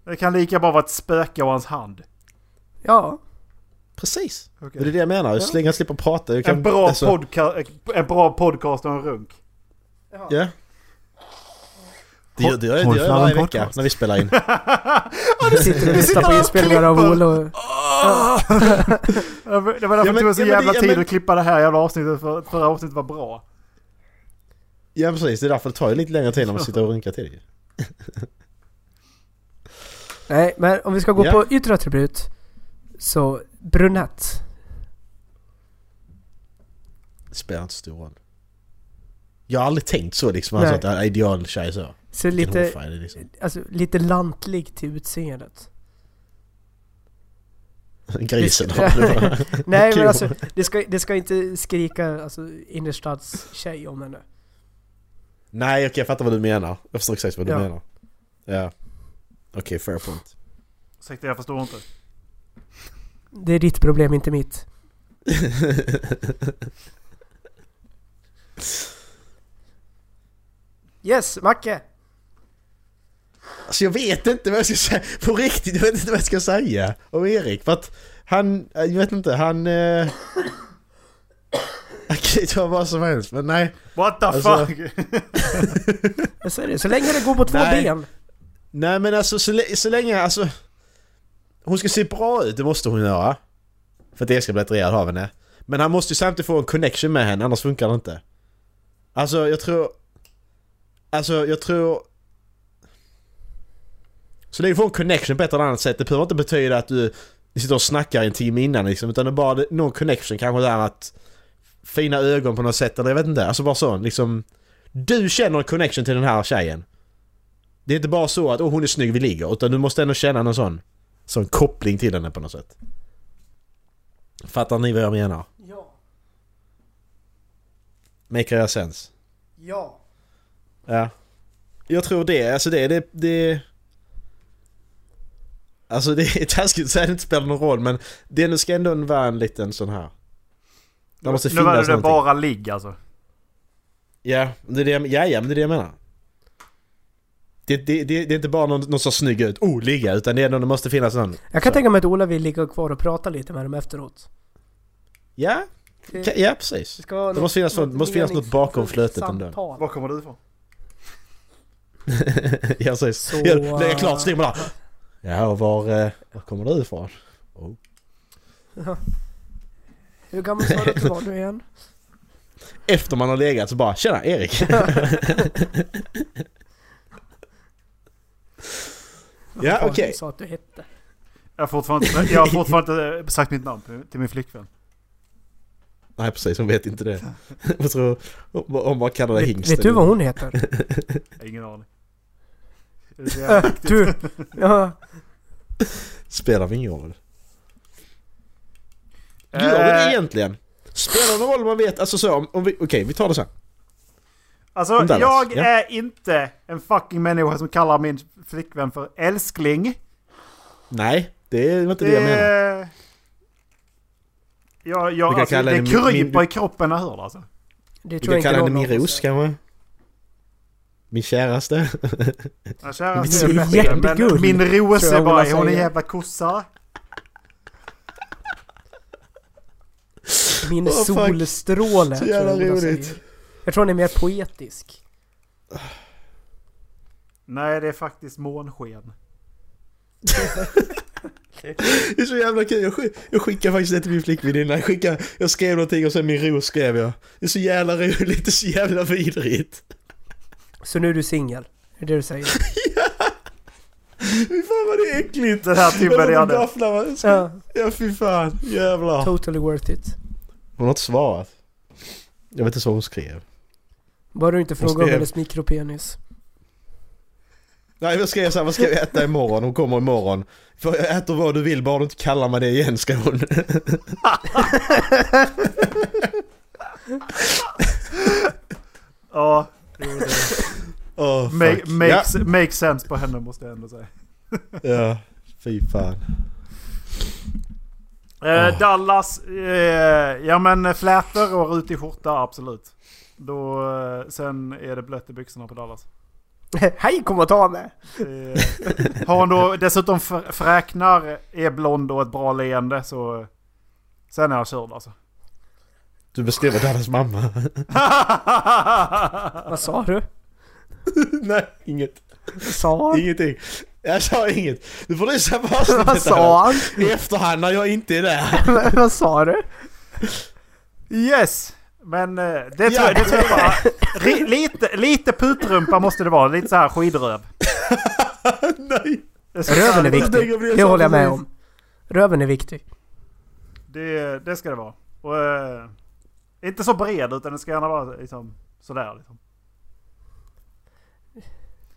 Speaker 1: Det kan lika bara vara ett spöke och hans hand.
Speaker 6: Ja,
Speaker 2: Precis!
Speaker 1: Okej.
Speaker 2: Och det är det jag menar, så länge jag slipper prata. Jag kan,
Speaker 1: en, bra
Speaker 2: alltså-
Speaker 1: podca- en bra podcast och en runk.
Speaker 2: Ja. Det gör, det gör, det
Speaker 1: Håll
Speaker 2: gör jag
Speaker 1: flamman
Speaker 2: varje vecka
Speaker 1: podcast.
Speaker 2: när vi spelar in.
Speaker 6: sitter och lyssnar på
Speaker 1: där och
Speaker 6: inspelningar av
Speaker 1: klipper.
Speaker 6: Ol och...
Speaker 1: Det var det var därför
Speaker 2: Ah! Ja, men-
Speaker 1: det tog så
Speaker 2: ja, men
Speaker 1: jävla
Speaker 2: det- ja,
Speaker 1: tid
Speaker 2: men-
Speaker 1: att klippa det här jävla avsnittet för att förra avsnittet var bra.
Speaker 2: Ja precis, det är därför det tar ju lite längre tid när man sitter och runkar till det.
Speaker 6: Nej, men om vi ska gå
Speaker 2: Ja.
Speaker 6: på yttre attribut. Så brunett.
Speaker 2: Spelar inte så stor roll. Jag har aldrig tänkt så liksom. Alltså
Speaker 6: Nej.
Speaker 2: att en idealtjej så.
Speaker 6: Ser
Speaker 2: Vilken
Speaker 6: lite,
Speaker 2: hårfärg det är, liksom.
Speaker 6: alltså, lite lantlig till utseendet.
Speaker 2: Grisen.
Speaker 6: Nej
Speaker 2: Kul.
Speaker 6: men alltså, det ska, det ska inte skrika alltså, innerstadstjej om henne.
Speaker 2: Nej okej jag fattar vad du menar. Jag förstår exakt vad
Speaker 6: Ja.
Speaker 2: du menar. Ja. Okej fair point.
Speaker 1: Ursäkta, jag förstår inte.
Speaker 6: Det är ditt problem, inte mitt. Yes, Macke!
Speaker 2: Alltså jag vet inte vad jag ska säga. På riktigt, jag vet inte vad jag ska säga om Erik. För att han, jag vet inte, han... Eh... Han kan ju ta vad som helst men nej.
Speaker 1: What the
Speaker 2: Alltså-
Speaker 1: fuck?
Speaker 6: Jag säger det, så länge det går på två
Speaker 2: Nej.
Speaker 6: ben.
Speaker 2: Nej men alltså så, lä- så länge, alltså... Hon ska se bra ut, det måste hon göra. För att jag ska bli attraherad av henne. Men han måste ju samtidigt få en connection med henne, annars funkar det inte. Alltså jag tror... Alltså jag tror... Så länge du får en connection på ett eller annat sätt, det behöver inte betyda att du ni sitter och snackar en timme innan liksom, utan det är bara det- någon connection kanske där att... Fina ögon på något sätt, eller jag vet inte. Alltså bara sån liksom... Du känner en connection till den här tjejen. Det är inte bara så att åh hon är snygg, vi ligger. Utan du måste ändå känna någon sån, sån koppling till henne på något sätt. Fattar ni vad jag menar?
Speaker 6: Ja,
Speaker 2: Make it sense.
Speaker 6: ja.
Speaker 2: Ja. Jag tror det, alltså det, det, det... Alltså det är taskigt att säga att det inte spelar någon roll men det ändå- ska ändå vara en liten sån här... Det måste
Speaker 1: Nu var det
Speaker 2: finnas
Speaker 1: det
Speaker 2: någonting.
Speaker 1: bara ligg alltså.
Speaker 2: Ja, det är det, jag- ja, ja, men det är det jag menar. Det, det, det, det är inte bara någon, någon som snygg ut, oh ligga, utan det, är ändå, det måste finnas någon...
Speaker 6: Jag kan tänka mig att Ola vill ligga kvar och prata lite med dem efteråt.
Speaker 2: Ja,
Speaker 6: Det-
Speaker 2: ka- ja precis.
Speaker 6: det ska vara
Speaker 2: Det måste finnas något- måste finnas något
Speaker 6: meningsfullt
Speaker 2: bakom flötet ändå.
Speaker 6: samtal.
Speaker 1: Var kommer du ifrån?
Speaker 2: Ja precis.
Speaker 6: Så,
Speaker 2: Så, jag lägger
Speaker 6: eh,
Speaker 2: klart streamen där. Ja och var, eh, var kommer du ifrån?
Speaker 6: Hur gammal sa du att du var nu igen?
Speaker 2: Efter man har legat så bara tjena Erik. ja
Speaker 6: Fan,
Speaker 2: okej.
Speaker 6: Du sa att du hette.
Speaker 1: Jag har fortfarande, inte- jag har fortfarande inte sagt mitt namn till- till min flickvän.
Speaker 2: Nej precis hon vet inte det. Vad tror om- om man kallar det
Speaker 6: Vet,
Speaker 2: hingst.
Speaker 6: vet du vad hon heter?
Speaker 1: Jag har Ingen aning. Är det så jävla viktigt?
Speaker 6: du! Ja.
Speaker 2: Spelar ingen roll. Gör det det
Speaker 1: Eh,
Speaker 2: egentligen? Spelar det någon roll vad man vet? Alltså så om, om vi, okej vi tar det sen.
Speaker 1: Alltså,
Speaker 2: Dallas,
Speaker 1: jag
Speaker 2: ja.
Speaker 1: är inte en fucking människa som kallar min flickvän för älskling.
Speaker 2: Nej, det var inte det, jag
Speaker 6: Eh,
Speaker 2: menar.
Speaker 1: Det... Jag,
Speaker 2: Du
Speaker 1: jag,
Speaker 2: kan
Speaker 1: alltså,
Speaker 2: kalla
Speaker 1: det
Speaker 2: henne min-
Speaker 1: kryper
Speaker 2: min-
Speaker 1: i kroppen när jag hör det alltså.
Speaker 6: Det
Speaker 2: Vi
Speaker 6: tror jag
Speaker 2: kan kalla
Speaker 6: inte
Speaker 2: henne
Speaker 6: någon
Speaker 2: min
Speaker 6: av oss
Speaker 2: ros
Speaker 6: är.
Speaker 2: kanske? Min käraste?
Speaker 1: Jag kära
Speaker 6: Min
Speaker 1: ser
Speaker 6: är
Speaker 1: bättre,
Speaker 6: jättegull,
Speaker 1: men min ros
Speaker 6: tror jag
Speaker 1: är
Speaker 6: Ola
Speaker 1: bara, hon är
Speaker 6: säger.
Speaker 1: jävla kossa.
Speaker 6: Min
Speaker 2: Åh, fuck.
Speaker 6: solstråle.
Speaker 2: Så
Speaker 6: tror jag
Speaker 2: jävla
Speaker 6: Ola
Speaker 2: roligt.
Speaker 6: säger. Jag tror hon är mer poetisk.
Speaker 1: Nej, det är faktiskt månsken.
Speaker 2: Det är så jävla kul, jag, sk- jag skickar faktiskt det till min flickvän innan. Jag, skickar, jag skrev någonting och sen min ros skrev jag. Det är så jävla roligt, det är så jävla vidrigt.
Speaker 6: Så nu är du singel. Det är det du säger.
Speaker 2: Fy fan vad det är äckligt!
Speaker 1: Den här timmen jag hade.
Speaker 2: hade.
Speaker 6: Ja,
Speaker 2: Ja fy fan, jävlar.
Speaker 6: totally worth it.
Speaker 2: Hon har inte svarat. Jag vet inte vad hon skrev.
Speaker 6: Bara du inte frågar om
Speaker 2: skrev-
Speaker 6: hennes mikropenis.
Speaker 2: Nej jag skrev såhär, vad ska jag äta imorgon? Hon kommer imorgon. För jag äter vad du vill, bara du inte kallar mig det igen ska hon.
Speaker 1: Ja, jo, det
Speaker 2: Oh,
Speaker 1: make, makes, makes sense på henne måste jag ändå säga.
Speaker 2: ja. ja, fy fan.
Speaker 1: Eh,
Speaker 2: Åh.
Speaker 1: Dallas, eh, ja men flätor och rutig skjorta, absolut. Då, eh, sen är det blött i byxorna på Dallas.
Speaker 6: Hej kom och ta mig!
Speaker 1: Eh, har hon då dessutom fr- fräknar, är blond och ett bra leende så... eh, Sen är jag körd alltså.
Speaker 2: Du beskriver Dallas mamma.
Speaker 6: Vad sa du?
Speaker 2: Nej, inget.
Speaker 6: Vad sa han?
Speaker 2: Ingenting. Jag sa inget. Du får lyssna på avsnittet
Speaker 6: Vad sa han?
Speaker 2: här. I efterhand när jag inte är där.
Speaker 6: Vad sa du?
Speaker 1: Yes! Men eh, det tror,
Speaker 2: Ja.
Speaker 1: jag, det tror jag bara. Ri- Lite, lite putrumpa måste det vara. Lite så här skidröv.
Speaker 2: Nej.
Speaker 1: Det, ska,
Speaker 6: Röven är
Speaker 2: Jag tänker på det
Speaker 6: viktig. Det håller jag med
Speaker 2: samtidigt.
Speaker 6: om. Röven är viktig.
Speaker 1: det, det ska det vara. Och, eh, inte så bred utan det ska gärna vara liksom, Sådär liksom.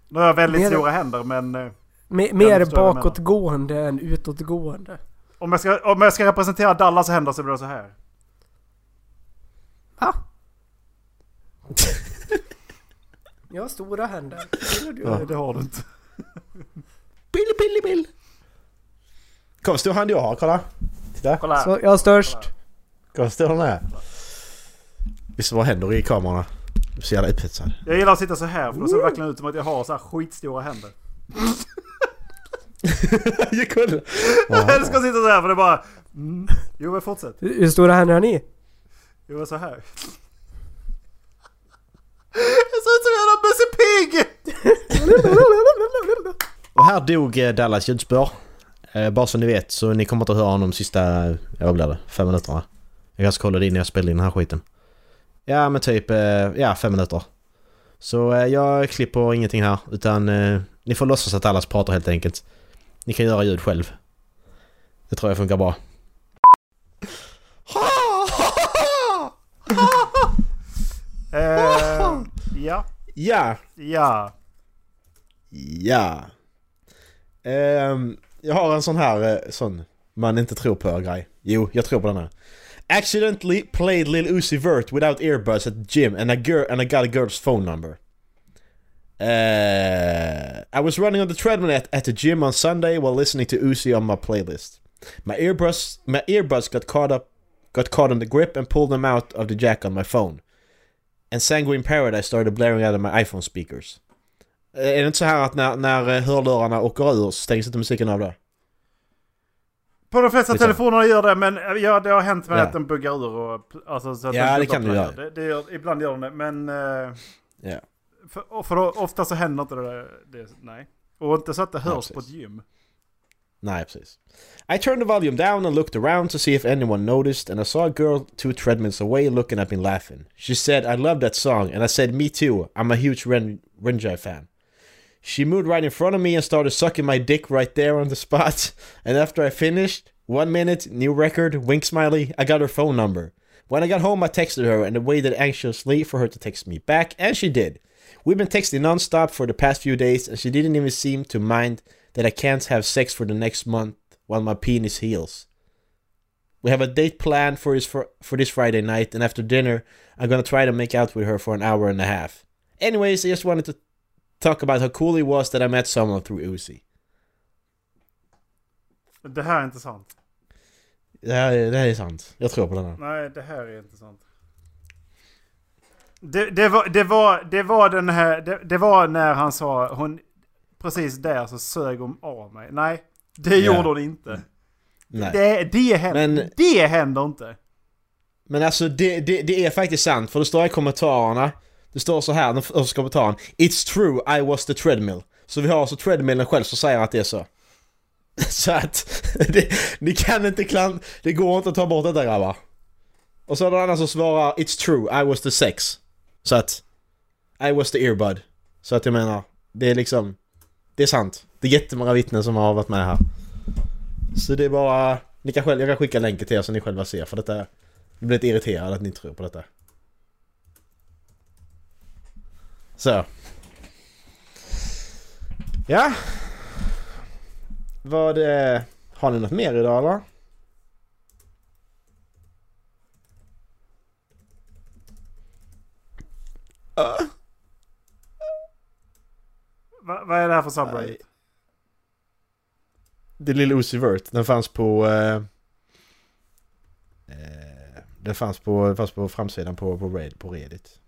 Speaker 1: Nu har jag väldigt
Speaker 6: Mer-
Speaker 1: stora händer men... eh,
Speaker 6: Me-
Speaker 1: Jag
Speaker 6: mer
Speaker 1: förstår vad du menar.
Speaker 6: bakåtgående än utåtgående.
Speaker 1: Om jag, ska, om jag ska representera Dallas händer så blir det så här.
Speaker 6: Va? Jag har stora händer. Gillar du?
Speaker 1: Det har du inte.
Speaker 2: Bill, Bill, Bill. Kom, stor hand jag har. Kolla. Titta.
Speaker 1: Kolla här.
Speaker 6: Så jag är störst.
Speaker 2: Kolla, stor den är. Visst vad händer i kamerorna? Du är så jävla upphetsad.
Speaker 1: Jag gillar att sitta så här för då ser det verkligen ut som att jag har så här skitstora händer.
Speaker 2: Jag kollar.
Speaker 1: Jag älskar att sitta så här för det är bara... Mm. Jo men fortsätt.
Speaker 6: Hur hur stora händer har ni?
Speaker 1: Jo men så här. Jag ser ut som en jävla Musse Pigg!
Speaker 2: Och här dog eh, Dallas ljudspår. Eh, Bara så ni vet, så ni kommer inte att höra honom de sista, eh, vad blir det, fem minuterna? Jag kanske kollade in när jag spelade in den här skiten. Ja men typ, eh, ja fem minuter. Så eh, jag klipper ingenting här, utan eh, ni får låtsas att Dallas pratar helt enkelt. Ni kan göra ljud själv. Det tror jag funkar bra.
Speaker 1: Eh, ja.
Speaker 2: Ja,
Speaker 1: Ja.
Speaker 2: ja. Ehm, jag har en sån här, eh, sån man inte tror på-grej. Jo, jag tror på den här. Accidentally played Lil Uzi Vert without earbuds at the gym and, a girl, and I got a girl's phone number. Uh, I was running on the treadmill at, at the gym on Sunday while listening to Uzi on my playlist. My earbuds, my earbuds got caught up, got caught on the grip and pulled them out of the jack on my phone. And Sanguine Paradise started blaring out of my iPhone speakers. Eh, Är det inte så här att när, när eh, hörlurarna åker ur så stängs inte musiken av då?
Speaker 1: På de flesta
Speaker 2: Lite.
Speaker 1: telefonerna gör det men eh, ja, det har hänt med
Speaker 2: Ja.
Speaker 1: att den buggar ur och... Alltså, så att
Speaker 2: Ja,
Speaker 1: den
Speaker 2: det kan du
Speaker 1: dubbelplangar.
Speaker 2: göra.
Speaker 1: Det, det gör, ibland gör den det men... eh,
Speaker 2: Ja.
Speaker 1: För, och för då, ofta så händer inte det, där- det Nej. Och inte så att det hörs
Speaker 2: precis.
Speaker 1: på ett gym.
Speaker 2: Nej, precis. I turned the volume down and looked around to see if anyone noticed and I saw a girl two treadmills away looking at me laughing. She said, I love that song and I said, me too, I'm a huge Ren Renjai fan. She moved right in front of me and started sucking my dick right there on the spot. And after I finished, one minute, new record, wink smiley, I got her phone number. When I got home, I texted her and waited anxiously for her to text me back, and she did. We've been texting nonstop for the past few days, and she didn't even seem to mind that I can't have sex for the next month while my penis heals. We have a date planned for this for, for this Friday night, and after dinner, I'm gonna try to make out with her for an hour and a half. Anyways, I just wanted to talk about how cool it was that I met someone through Uzi.
Speaker 1: Det här är inte sant.
Speaker 2: Det här, är- det här är sant. Jag tror på den här.
Speaker 1: Nej, det här är inte sant. Det, det, var, det, var, det var den här... Det, det var när han sa hon... Precis där så sög hon av mig. Nej, det
Speaker 2: Ja.
Speaker 1: gjorde hon inte.
Speaker 2: Nej.
Speaker 1: Det, det, händer,
Speaker 2: Men-
Speaker 1: det händer inte.
Speaker 2: Men alltså det, det, det är faktiskt sant, för det står i kommentarerna. Det står så här, den första kommentaren. It's true, I was the treadmill. Så vi har alltså treadmillen själv som säger att det är så. Så att, det, ni kan inte klant, det går inte att ta bort detta grabbar. Och så är det någon annan som svarar It's true, I was the sex. Så att, I was the earbud. Så att jag menar, det är liksom, det är sant. Det är jättemånga vittnen som har varit med här. Så det är bara, ni kan själv, jag kan skicka länken till er så ni själva ser för detta är jag blir lite irriterad att ni tror på detta. Så. Ja. Vad... eh, Har ni något mer idag eller?
Speaker 1: Va, vad är det här för subreddit?
Speaker 2: Det lilla Uzi Vert, den fanns på... Eh, eh, den fanns på, den fanns på framsidan på, på, Red, på Reddit.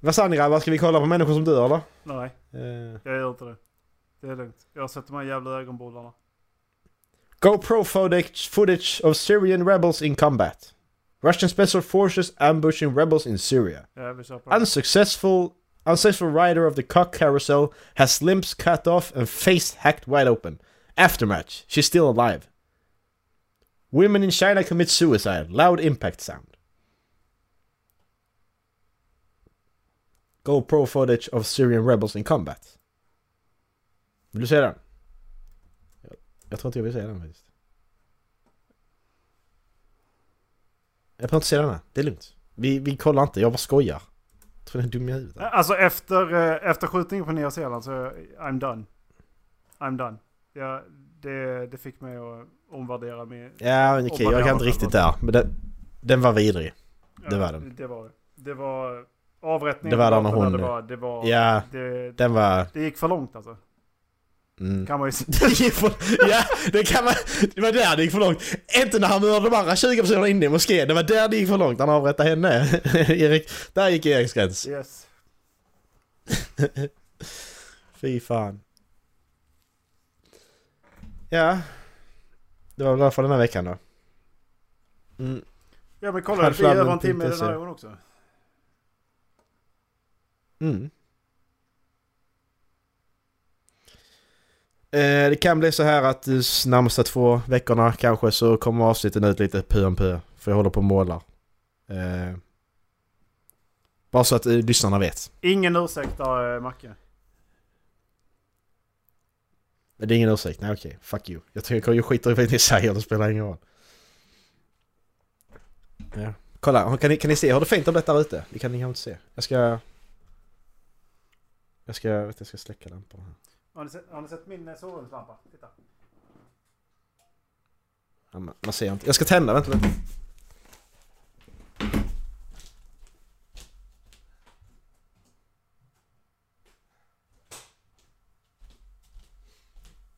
Speaker 2: Vad sa ni grabbar, ska vi kolla på människor som dör eller?
Speaker 1: Nej,
Speaker 2: Eh,
Speaker 1: jag gör inte det. Det är lugnt. Jag sätter mig i jävla ögonbollarna.
Speaker 2: GoPro footage, footage of Syrian rebels in combat. Russian special forces ambushing rebels in Syria.
Speaker 1: Jag vill köpa
Speaker 2: Alltså-
Speaker 1: det.
Speaker 2: Unsuccessful, unsuccessful rider of the cock carousel has limbs cut off and face hacked wide open. Aftermatch, she's still alive. Women in China commit suicide. Loud impact sound. GoPro footage of Syrian rebels in combat. Vill du se den? Jag, jag tror inte jag vill se den faktiskt. Jag behöver inte se denna. Det är lugnt. Vi, vi kollar inte, jag bara skojar. Jag tror den är dum i huvudet.
Speaker 1: Alltså efter, eh, efter skjutningen på Nya Zeeland så eh, I'm done. I'm done. Ja, det, det fick mig att omvärdera min...
Speaker 2: Ja, men okej, jag kan inte riktigt där. Men den, den var vidrig. det var den.
Speaker 1: Det var det. Det var avrättningen.
Speaker 2: Det var
Speaker 1: på
Speaker 2: där när
Speaker 1: gatan,
Speaker 2: hon-
Speaker 1: Det var... Det, var,
Speaker 2: Ja,
Speaker 1: det,
Speaker 2: den var...
Speaker 1: det gick för långt alltså.
Speaker 2: Mm.
Speaker 1: Kan man ju säga.
Speaker 2: Det gick för, ja, det kan man... Det var där det gick för långt. Inte när han mördade de andra 20 personerna inne i moskén. Det var där det gick för långt. Han avrättade henne. Erik, där gick Eriks gräns.
Speaker 1: Yes.
Speaker 2: Fy fan. Ja. Det var väl därför den här veckan då. Mm.
Speaker 1: Ja men kolla,
Speaker 2: Här
Speaker 1: det är över en
Speaker 2: flammen
Speaker 1: timme den
Speaker 2: tänkte
Speaker 1: här
Speaker 2: jag säga.
Speaker 1: gången också.
Speaker 2: Mm. Eh, det kan bli så här att de närmsta två veckorna kanske så kommer avsnitten ut lite pö om pö. För jag håller på och målar. Eh, bara så att eh, lyssnarna vet.
Speaker 1: Ingen ursäkt där, eh, Macke.
Speaker 2: Men det är ingen ursäkt. Nej okej, fuck you. Jag tycker jag skiter i vad ni säger, det spelar ingen roll. Ja. Kolla, kan ni, kan ni se? Har du fint om detta ute? Det kan ni kanske inte se. Jag ska... Jag ska, jag vet, jag ska släcka lampan här.
Speaker 1: Har ni sett, har ni sett min eh, sovrumslampa? Titta.
Speaker 2: Ja, men man ser inte. Jag ska tända, vänta lite.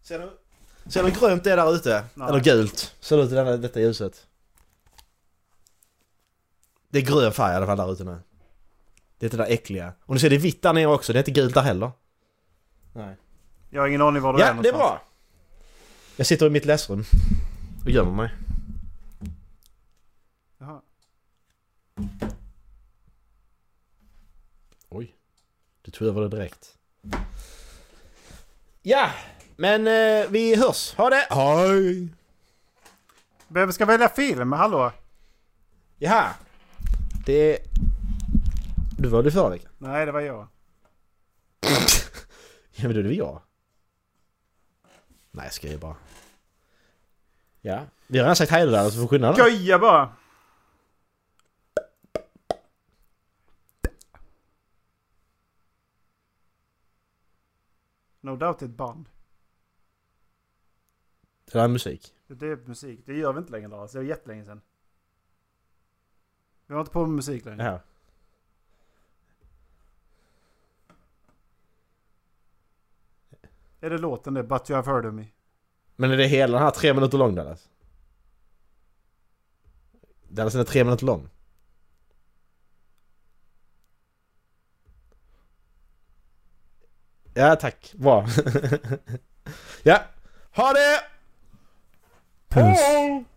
Speaker 2: Ser du, ser du hur grönt det är där ute?
Speaker 1: Nej.
Speaker 2: Eller gult? Ser det ut i denna, detta ljuset? Det är grön färg i alla fall där ute nu. Det är det där äckliga. Och nu ser det vitt där nere också, det är inte gult där heller. Nej.
Speaker 1: Jag har ingen aning var du
Speaker 2: Ja, det är
Speaker 1: någonstans.
Speaker 2: bra! Jag sitter i mitt läsrum och gömmer mig.
Speaker 1: Jaha.
Speaker 2: Oj. Du tog över det direkt. Ja, men eh, vi hörs. Ha det! Hej!
Speaker 1: Vem ska välja film? Hallå?
Speaker 2: Jaha. Det... Du var det förra veckan.
Speaker 1: Nej, det var jag.
Speaker 2: Ja, men då är det väl jag. Nej, jag skojar bara. Ja. Vi har redan sagt hej då där, så får skynda dig.
Speaker 1: Skoja bara! No doubt är ett band.
Speaker 2: Det där är musik.
Speaker 1: Det är typ musik. Det gör vi inte längre Lars. Det var jättelänge sedan. Vi har inte på med musik längre.
Speaker 2: Jaha.
Speaker 1: Är det låten det? But you have heard of me?
Speaker 2: Men är det hela den här tre minuter lång Dallas? Dallas den är tre minuter lång. Ja tack, bra. ja, ha det!
Speaker 8: Puss.
Speaker 2: Hej!